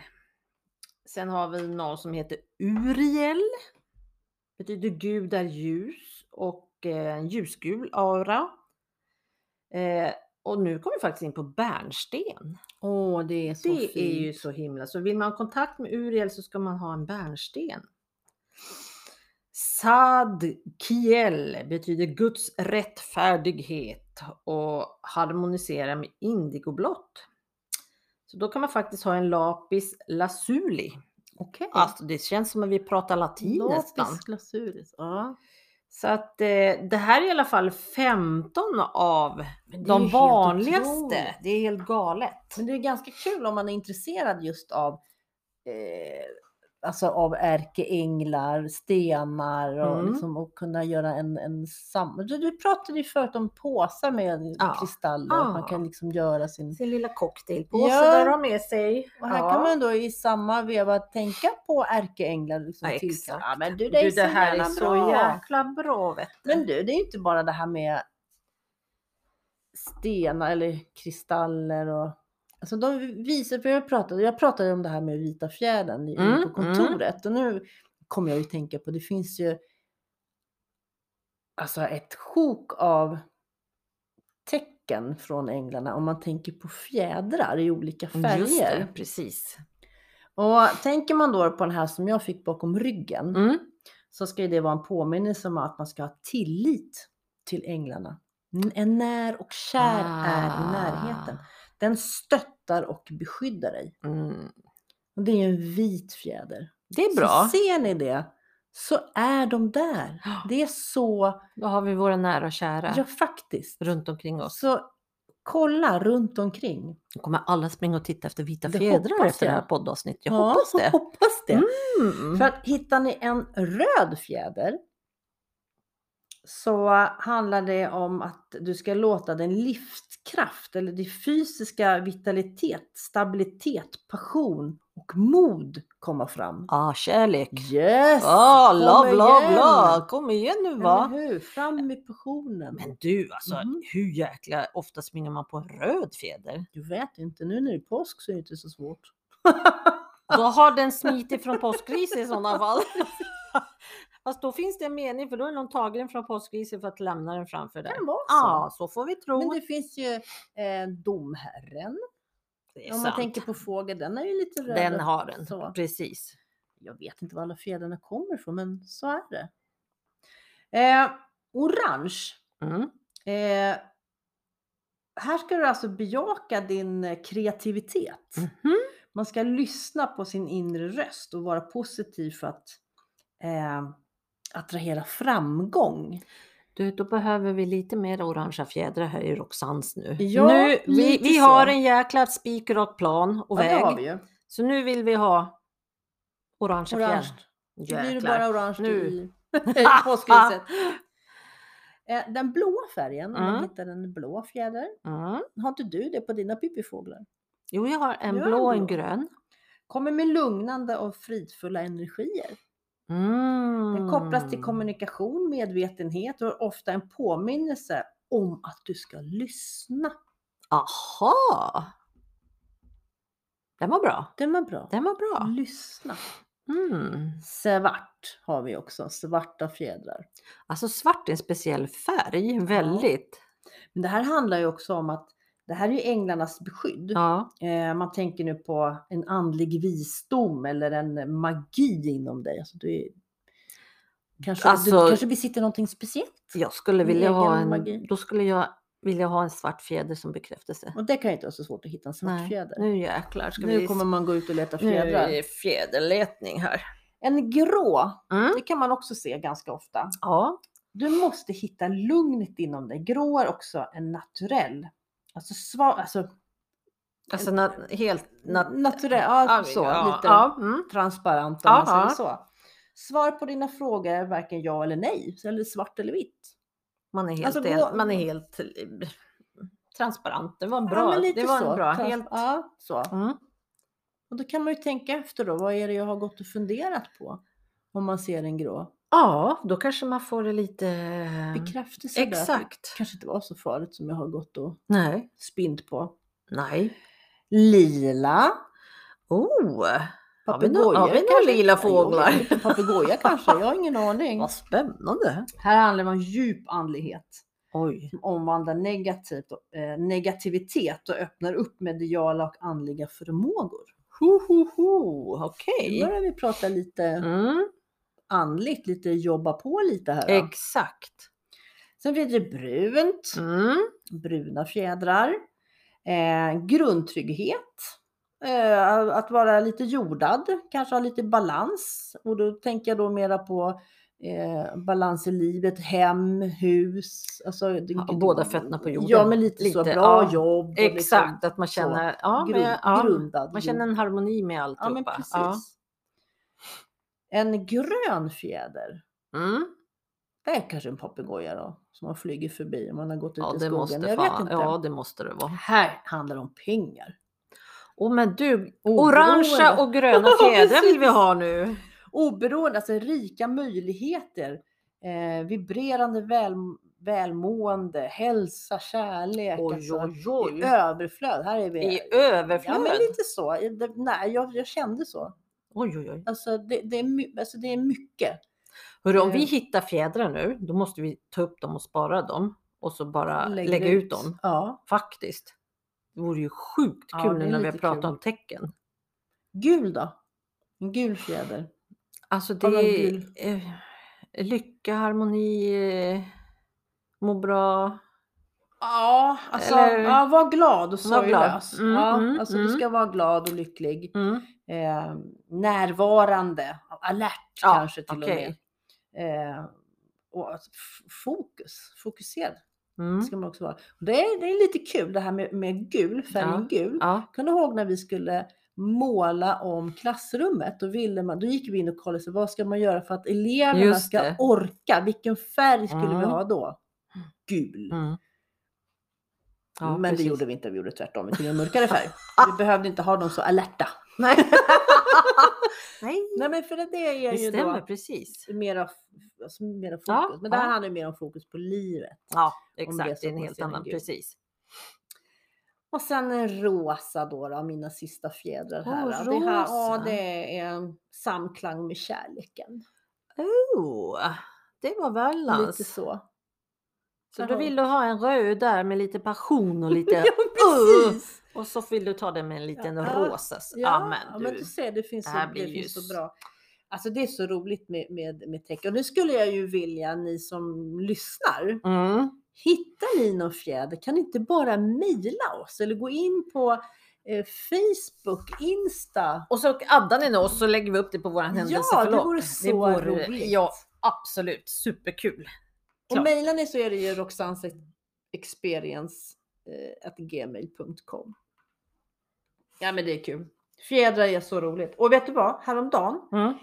B: Sen har vi någon som heter Uriel. Betyder Gud är ljus och eh, en ljusgul aura. Eh, och nu kommer vi faktiskt in på bärnsten.
A: Åh, det är så
B: det
A: fint.
B: är ju så himla. Så vill man ha kontakt med Uriel så ska man ha en bärnsten. Sadkiel betyder Guds rättfärdighet och harmonisera med indigoblått. Så då kan man faktiskt ha en lapis lazuli.
A: Okej.
B: Alltså det känns som att vi pratar latin nästan.
A: Lapis glasuris. Ja.
B: Så att eh, det här är i alla fall 15 av
A: Men det är ju
B: de
A: helt
B: vanligaste.
A: otroligt.
B: Det är helt galet.
A: Men det är ganska kul om man är intresserad just av eh, Alltså av ärkeänglar, stenar och,
B: Mm.
A: liksom, och kunna göra en, en sam... Du, du pratade ju förut om påsar med
B: Ja.
A: kristaller.
B: Ja.
A: Man kan liksom göra sin...
B: Sin lilla cocktailpåse
A: Ja.
B: där de har med sig.
A: Och här
B: Ja.
A: kan man då i samma veva tänka på ärkeänglar. Liksom,
B: Ja,
A: till-
B: exakt.
A: Ja, men du, det,
B: Du,
A: är så
B: det här är
A: jävla
B: så
A: bra.
B: jäkla bra vet du.
A: Men du, det är ju inte bara det här med stenar eller kristaller och Alltså de visar, för jag pratade, jag pratade ju om det här med vita fjädern i-
B: Mm,
A: på kontoret och nu kommer jag ju tänka på, det finns ju alltså ett sjok av tecken från änglarna om man tänker på fjädrar i olika
B: Mm, Just
A: färger.
B: det, precis.
A: Och tänker man då på den här som jag fick bakom ryggen
B: Mm.
A: så ska ju det vara en påminnelse om att man ska ha tillit till änglarna. N- En när och kär är i närheten.
B: Ah.
A: Den stöttar och beskyddar dig.
B: Mm.
A: Och det är ju en vit fjäder.
B: Det är bra.
A: Så ser ni det så är de där. Det är så,
B: Då har vi våra nära och kära
A: ja faktiskt.
B: runt omkring oss.
A: Så kolla runt omkring.
B: Nu kommer alla springa och titta efter vita
A: Det
B: fjädrar
A: hoppas
B: efter det här
A: jag.
B: poddavsnittet. Jag
A: Ja,
B: hoppas det.
A: Hoppas det.
B: Mm.
A: För att hittar ni en röd fjäder så handlar det om att du ska låta din livskraft eller din fysiska vitalitet, stabilitet, passion och mod komma fram.
B: Ah, kärlek.
A: Yes!
B: Ah,
A: Kom
B: love, love,
A: igen!
B: love. Kom igen nu
A: Eller
B: va.
A: hur? Fram med passionen.
B: Men du alltså,
A: Mhm.
B: hur jäkla ofta springer man på en röd fjäder?
A: Du vet inte, nu när det är påsk så är det inte så svårt.
B: Då har den smitit från påskgrisen i sådana fall. Fast då finns det en mening för då är någon tagit den från påskgrisen för att lämna den framför dig.
A: kan vara så.
B: Ja, så får vi tro.
A: Men det finns ju eh, domherren.
B: det är
A: Om man
B: sant.
A: tänker på fågel, den är ju lite röd.
B: den
A: och
B: har den.
A: Så.
B: Precis.
A: Jag vet inte var alla fjädrarna kommer ifrån, men så är det. Eh, orange.
B: Mm.
A: Eh, här ska du alltså bejaka din eh, kreativitet.
B: Mhm.
A: Man ska lyssna på sin inre röst och vara positiv för att eh, attrahera framgång.
B: Du, då behöver vi lite mer orangea fjädrar här i Roxans nu.
A: Ja,
B: nu vi
A: lite
B: vi
A: så.
B: har en jäkla spikrak plan och
A: Ja, det har vi
B: väg.
A: ju.
B: Så nu vill vi ha orangea
A: Orange.
B: fjädrar.
A: Då blir det bara orange
B: Nu.
A: i, i påskhuset. Eh, Den blåa färgen, om man
B: Mm.
A: hittar en blå fjäder.
B: Mm.
A: Har inte du det på dina pippifåglar?
B: Jo, jag har en
A: Du har
B: blå och en
A: en blå.
B: grön.
A: Kommer med lugnande och fridfulla energier.
B: Mm.
A: Den kopplas till kommunikation, medvetenhet och är ofta en påminnelse om att du ska lyssna.
B: Aha! Den var bra.
A: Den var bra.
B: Den var bra.
A: Lyssna.
B: Mm.
A: Svart har vi också, svarta fjädrar.
B: Alltså svart är en speciell färg,
A: typ.
B: väldigt.
A: Men det här handlar ju också om att det här är ju änglarnas beskydd.
B: Ja.
A: Eh, man tänker nu på en andlig visdom eller en magi inom dig. Alltså, du är... kanske,
B: Alltså-
A: du kanske besitter någonting speciellt.
B: Jag skulle
A: Din
B: vilja ha
A: egen
B: en,
A: magi.
B: då skulle jag vilja ha en svart fjäder som bekräftelse.
A: Och det kan ju inte vara så svårt att hitta en svart
B: Nej,
A: fjäder.
B: nu jäklar ska
A: Nu
B: vi...
A: kommer man gå ut och leta
B: nu
A: fjädrar.
B: är det fjäderletning här.
A: En grå,
B: Mm.
A: det kan man också se ganska ofta.
B: Ja.
A: Du måste hitta lugnet inom dig. Grå är också en naturell. Alltså svar, alltså
B: Alltså na, helt... Na,
A: naturell, ja, Mm, så
B: ja,
A: lite
B: Ja, mm.
A: transparent om man
B: Aha.
A: säger så. Svar på dina frågor är varken ja eller nej, eller svart eller vitt.
B: Man är helt...
A: Alltså,
B: en-
A: gå-
B: man är helt... eh, Transparent. Det var en bra...
A: ja, men lite
B: det var
A: så.
B: en bra...
A: Trans-
B: Helt...
A: Ja, så.
B: Mm.
A: Och då kan man ju tänka efter då, vad är det jag har gått och funderat på? Om man ser en grå.
B: Ja, då kanske man får det lite... eh,
A: Bekräftelse där, att det
B: Mm. Exakt.
A: kanske inte var så farligt som jag har gått och
B: Nej.
A: spint på.
B: Nej.
A: Lila.
B: Oh! Har vi nå-
A: Papegojor
B: har vi några
A: kanske?
B: lila
A: Ja, jo,
B: fåglar?
A: lite Papegoja kanske, jag har ingen aning.
B: Vad spännande!
A: Här handlar det om djup andlighet.
B: Oj.
A: som omvandlar negativt, och- eh, negativitet och öppnar upp mediala och andliga förmågor.
B: Ho, ho, ho.
A: Nu
B: Okej.
A: börjar vi prata lite
B: Mm,
A: andligt, lite jobba på lite här. då.
B: exakt.
A: Sen finns det brunt,
B: Mm.
A: bruna fjädrar, eh, grundtrygghet, eh, att vara lite jordad, kanske ha lite balans. Och då tänker jag då mera på eh, balans i livet, hem, hus. Alltså, det-
B: Ja, båda fötterna på jorden.
A: Ja, men lite, så.
B: Lite,
A: Bra
B: ja.
A: jobb. och liksom-
B: Exakt, att man känner, ja,
A: grund,
B: men, ja,
A: grundad.
B: man känner en harmoni med
A: ja, men
B: alltihopa.
A: precis. En grön fjäder.
B: Mm.
A: Det är kanske en papegoja då som har flugit förbi om man har gått ut
B: ja
A: i
B: det
A: skogen.
B: måste
A: jag vet
B: fan,
A: inte.
B: ja, det måste det vara.
A: Här handlar det om pengar.
B: Åh men du,
A: Oberoende.
B: orangea och gröna
A: Ja,
B: fjädrar vill vi
A: precis.
B: ha nu.
A: Oberoende, alltså rika möjligheter. Eh, vibrerande väl, välmående, hälsa, kärlek.
B: Oj,
A: alltså,
B: oj,
A: I
B: oj.
A: överflöd. Här är vi.
B: I
A: Ja,
B: överflöd.
A: men lite så. I- det- Nej, jag, jag kände så.
B: Oj, oj, oj.
A: Alltså det, det, är, my- alltså, det är mycket.
B: Hörru, om vi
A: Eh.
B: hittar fjädrar nu, då måste vi ta upp dem och spara dem och så bara
A: Lägger
B: lägga ut dem.
A: Ja.
B: Faktiskt. Det vore ju sjukt
A: Ja,
B: kul
A: det
B: nu
A: är
B: när vi har
A: lite
B: pratat
A: kul.
B: om tecken.
A: Gul då? En gul fjäder.
B: Alltså
A: Kolla om
B: det
A: gul.
B: är lycka, harmoni, eh, må bra.
A: Ja, alltså
B: Eller-
A: ja, var glad och
B: Var glad.
A: sorglös.
B: Mm,
A: ja,
B: mm,
A: alltså du
B: mm.
A: ska vara glad och lycklig.
B: Mm.
A: Eh, närvarande, alert
B: Ja,
A: kanske till
B: okej.
A: och med. Eh, och alltså, f- fokus, fokuserad
B: Mm.
A: ska man också vara. Och Det är, det är lite kul det här med, med gul, färgen gul.
B: Ja.
A: Kommer du ihåg när vi skulle måla om klassrummet. Då, ville man, då gick vi in och kollade, så vad ska man göra för att eleverna
B: Just
A: ska
B: det.
A: orka? Vilken färg skulle vi
B: Mm.
A: ha då? Gul.
B: Mm.
A: Men det
B: precis.
A: gjorde vi inte, vi gjorde tvärtom. Vi tog en mörkare färg. Vi behövde inte ha dem så alerta. Nej,
B: Nej,
A: Nej men för att det är
B: det
A: ju då
B: stämmer precis.
A: mera, f- alltså, mera fokus.
B: Ja,
A: men det här
B: ja.
A: handlar ju mer om fokus på livet.
B: Ja,
A: det är
B: exakt.
A: så
B: Det är
A: att man
B: en helt
A: ser en
B: annan.
A: gul.
B: Precis.
A: Och sen en rosa då, då mina sista fjädrar här.
B: Åh,
A: då. det här ja,
B: rosa.
A: det är en samklang med kärleken.
B: Oh, det var balans.
A: Lite så.
B: Så
A: Där
B: du
A: har vi.
B: vill du ha en röd där med lite passion och lite...
A: Ja, precis!
B: Och så vill du ta den med en liten
A: Ja,
B: rosa. s-
A: Ja, ja,
B: Ja, men
A: men
B: du.
A: du ser, det finns,
B: det
A: så,
B: här
A: det
B: blir ju
A: finns
B: s-
A: så bra. Alltså det är så roligt med, med, med tecken. Och nu skulle jag ju vilja, ni som lyssnar,
B: Mm.
A: hittar ni någon fjäder, kan ni inte bara mejla oss eller gå in på eh, Facebook, Insta?
B: Och så addar ni oss så lägger vi upp det på vår
A: Ja, det
B: händelseförlopp.
A: vore så
B: vore-
A: roligt.
B: Ja, absolut. Superkul.
A: Och
B: klart.
A: mejlar ni så är det ju eh, roxanseexperience.gmail.com. Ja men det är kul. Fjädrar är så roligt. Och vet du vad? Häromdagen
B: Mm.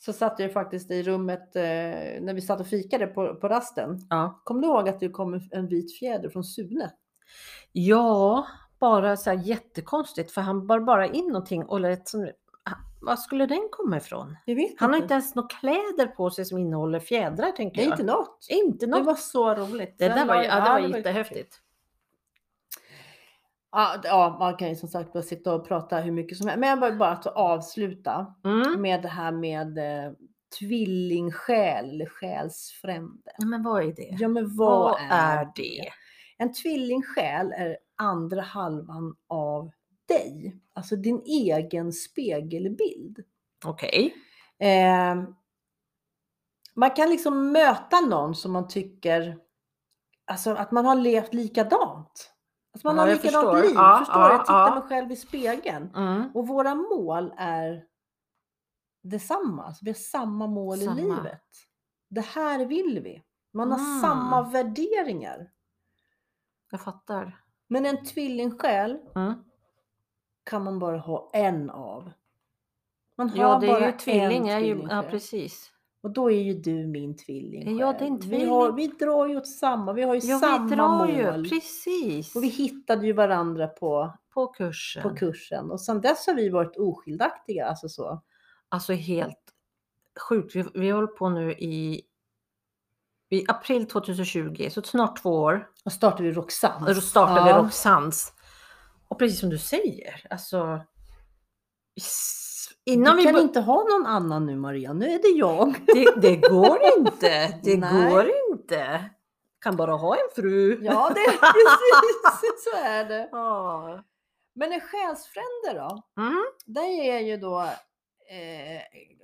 A: så satt jag ju faktiskt i rummet eh, när vi satt och fikade på, på rasten.
B: Ja.
A: Kom du ihåg att det kom en- en vit fjäder från Sune?
B: ja, bara så här jättekonstigt för han bar bara in någonting och lät som... Ah, Var skulle den komma ifrån?
A: Jag vet
B: Han har inte ens några kläder på sig som innehåller fjädrar tänker
A: Nej,
B: jag.
A: inte något.
B: inte
A: Det
B: något.
A: var så roligt.
B: Det
A: Den
B: där var, ju-
A: la jag-
B: ja, det var
A: ju kul.
B: jättehäftigt.
A: Ja, d- ja, man kan ju som sagt bara sitta och prata hur mycket som helst. Men jag vill bara att avsluta
B: Mm.
A: med det här med eh, tvillingsjäl eller själsfrände.
B: Ja, Men vad är det?
A: Ja, men vad,
B: Vad
A: är
B: är det?
A: En tvillingsjäl är andra halvan av dig, alltså din egen spegelbild.
B: Okej.
A: Eh, man kan liksom möta någon som man tycker, alltså att man har levt likadant. Alltså man
B: Ja,
A: har
B: jag
A: likadant
B: förstår.
A: liv,
B: Ja,
A: förstår
B: ja,
A: du? Jag tittar
B: ja.
A: mig själv i spegeln.
B: Mm.
A: Och våra mål är detsamma. Alltså vi har samma mål
B: Samma.
A: i livet. Det här vill vi. Man har
B: Mm.
A: samma värderingar.
B: Jag fattar.
A: Men en tvillingsjäl
B: Mm.
A: kan man bara ha en av. Man har
B: Ja, det
A: bara
B: är ju tvilling.
A: en
B: Är ju, ja,
A: tvillingsjäl.
B: precis.
A: och då är ju du min tvilling.
B: Ja, det är en
A: Vi,
B: tvilling.
A: har, vi drar ju åt samma. Vi har ju
B: Ja,
A: samma
B: vi drar
A: mål.
B: ju. Precis.
A: Och vi hittade ju varandra på,
B: på kursen.
A: på kursen. Och sedan dess har vi varit oskiljaktiga. Alltså så.
B: Alltså helt sjukt. Vi, vi håller på nu i, i april 2020, så snart två år.
A: Och startade vi Roxanne.
B: Och då startade
A: Ja.
B: Roxans. Och precis som du säger, alltså. s- Innan
A: du
B: vi
A: kan
B: bör-
A: inte ha någon annan nu Maria, nu är det jag.
B: det, det går inte. Det
A: Nej.
B: går inte. Kan bara ha en fru.
A: Ja, det precis så är det.
B: Ja.
A: Men en själsfrände då?
B: Mm.
A: Det är ju då,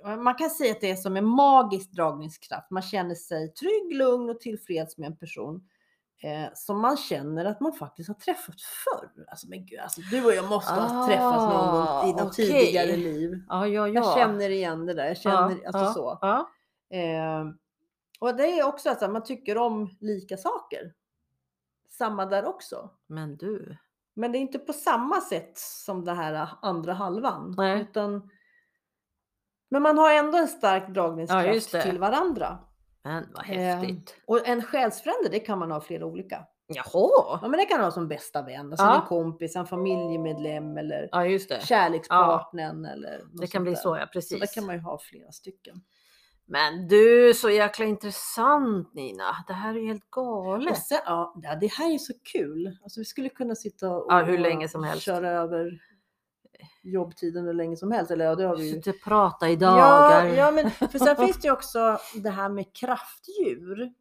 A: eh, man kan säga att det är som en magisk dragningskraft. Man känner sig trygg, lugn och tillfreds med en person eh, som man känner att man faktiskt har träffat förr. Alltså men gud, alltså, du och jag måste ha träffats någon gång i
B: Ah,
A: något
B: okej.
A: tidigare liv.
B: Ja, ja, ja.
A: Jag känner igen det där, jag känner,
B: ja,
A: alltså
B: ja,
A: så.
B: Ja.
A: Eh, och det är också att så här, man tycker om lika saker. Samma där också.
B: Men du.
A: Men det är inte på samma sätt som det här äh, andra halvan.
B: Nej.
A: Utan, men man har ändå en stark
B: Ja,
A: dragningskraft
B: just det.
A: till varandra.
B: Men vad
A: Eh,
B: häftigt.
A: Och en själsfrände, det kan man ha flera olika.
B: Jaha.
A: Ja, men det kan man ha som bästa vän, alltså
B: Ja.
A: en kompis, en familjemedlem eller
B: Ja, just det.
A: kärlekspartnern. Eller något
B: Det kan
A: sånt
B: bli
A: där.
B: så, ja
A: Så där
B: precis.
A: kan man ju ha flera stycken.
B: Men du, så jäkla intressant Nina. Det här är ju helt
A: Och
B: galet.
A: sen, ja, ja, det här är ju så kul. Alltså, vi skulle kunna sitta och
B: Ja, hur länge som helst.
A: köra över jobbtiden hur länge som helst. Eller ja, det har vi ju.
B: Sitter och pratar i
A: Ja,
B: dagar.
A: ja, men för sen finns det ju också det här med kraftdjur.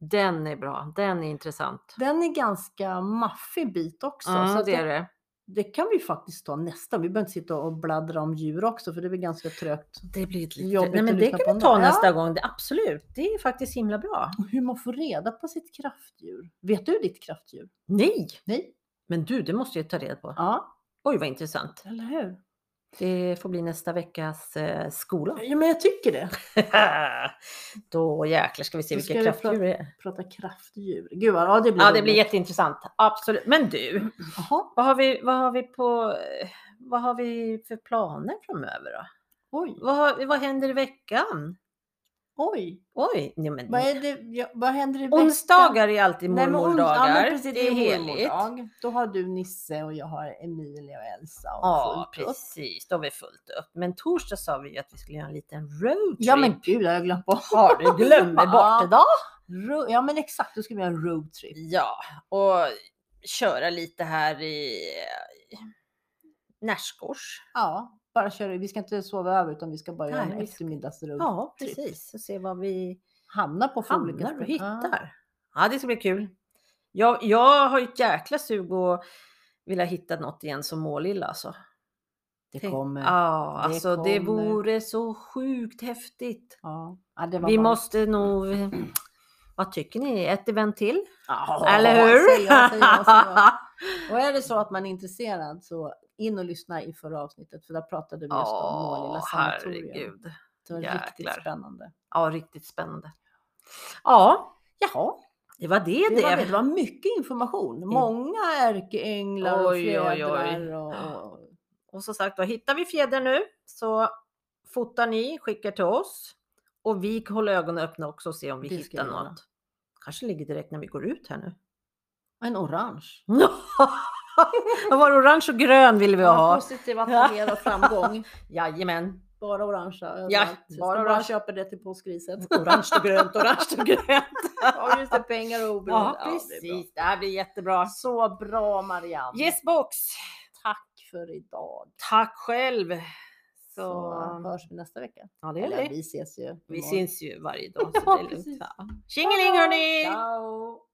B: Den är bra. Den är intressant.
A: Den är ganska maffig bit också.
B: Mm,
A: så att
B: det är det.
A: det kan vi faktiskt ta nästa. Vi behöver inte sitta och bladdra om djur också för det blir ganska trögt.
B: Det blir ett lite...
A: Jobbigt
B: Nej, men
A: att
B: det
A: lyssna
B: kan
A: på
B: vi ta
A: ändå.
B: nästa gång. Det, absolut. Det är faktiskt himla bra.
A: Och hur man får reda på sitt kraftdjur. Vet du ditt kraftdjur?
B: Nej!
A: Nej.
B: Men du, det måste jag ta reda på.
A: Ja,
B: Oj, vad intressant.
A: eller hur?
B: Det får bli nästa veckas eh, skola.
A: Ja, men jag tycker det.
B: Då jäklar ska vi se
A: Då ska vi
B: vilka kraftdjur
A: prata-
B: det är.
A: Prata kraftdjur. Gud vad, ja det blir
B: Ja, det blir
A: roligt.
B: jätteintressant. Absolut. Men du,
A: Jaha.
B: vad har vi, vad har vi på... eh, vad har vi för planer framöver då?
A: Oj,
B: Vad, har, vad händer i veckan?
A: oj.
B: Oj, nej men
A: Vad, är det, ja, vad händer i veckan?
B: onsdagar är alltid
A: Nej, men ons-
B: mormordagar.
A: Ja, men precis,
B: det är heligt.
A: mormordag. Då har du Nisse och jag har Emilia och Elsa. Och
B: Ja,
A: fullt upp.
B: precis. Då har vi fullt upp. Men torsdag sa vi ju att vi skulle göra en liten roadtrip.
A: Ja men gud, jag har glömt bort.
B: Har du glömmer bort
A: Ja.
B: idag?
A: Ro- Ja men exakt, då ska vi göra en roadtrip.
B: Ja, och köra lite här i eh, Närsgårds.
A: Ja, bara köra. Vi ska inte sova över utan vi ska bara göra
B: Nej,
A: en
B: vi ska-
A: eftermiddagsroadtrip.
B: Ja, precis. Och se vad vi
A: Hamna på för olika
B: hamnar och
A: ställen.
B: hittar. Ja, det ska bli kul. Jag, jag har ju ett jäkla sug att vilja hitta något igen som Målilla alltså.
A: Det
B: Tänk-
A: kommer. Ja.
B: Ja,
A: Det
B: alltså det
A: kommer.
B: vore så sjukt häftigt.
A: Ja. det var
B: Vi
A: bara-
B: måste nog... Vad tycker ni? Ett event till?
A: Ja,
B: Eller hur?
A: Säger jag, säger jag, säger jag. Och är det så att man är intresserad så in och lyssna i förra avsnittet för där pratade vi just om Målilla
B: Ja,
A: sanatorium.
B: herregud.
A: Det var
B: jäklar.
A: riktigt spännande.
B: Ja, riktigt spännande. Ja,
A: Jaha,
B: det var det
A: det var,
B: det.
A: det var mycket information. Många ärkeänglar och
B: Oj, oj, oj.
A: fjädrar och, och
B: Och som sagt då, hittar vi fjädern nu så fotar ni, skickar till oss. Och vi håller ögonen öppna också och ser om vi
A: Det ska
B: hittar
A: vi göra.
B: något. Kanske ligger direkt när vi går ut här nu.
A: en orange.
B: Det var orange och grön vill vi ha.
A: Positiva attiraljer och framgång.
B: Jajamän.
A: Bara orangea överallt.
B: Ja,
A: Jag ska
B: bara
A: bara,
B: orange.
A: köpa det till påskriset.
B: Orange och grönt, orange och grönt.
A: Ja just det, pengar och oberoende. Ja,
B: Ja,
A: det är bra.
B: precis. Det här blir jättebra.
A: Så bra Marianne.
B: Yes box.
A: Tack för idag.
B: Tack själv. Så,
A: Så, hörs vi nästa vecka.
B: ja, det
A: Eller
B: gör vi.
A: vi ses ju.
B: Vi
A: imorgon.
B: syns ju varje dag. Så
A: Ja,
B: det är lugnt.
A: precis.
B: Ja. Tjingeling hörni!
A: Ciao.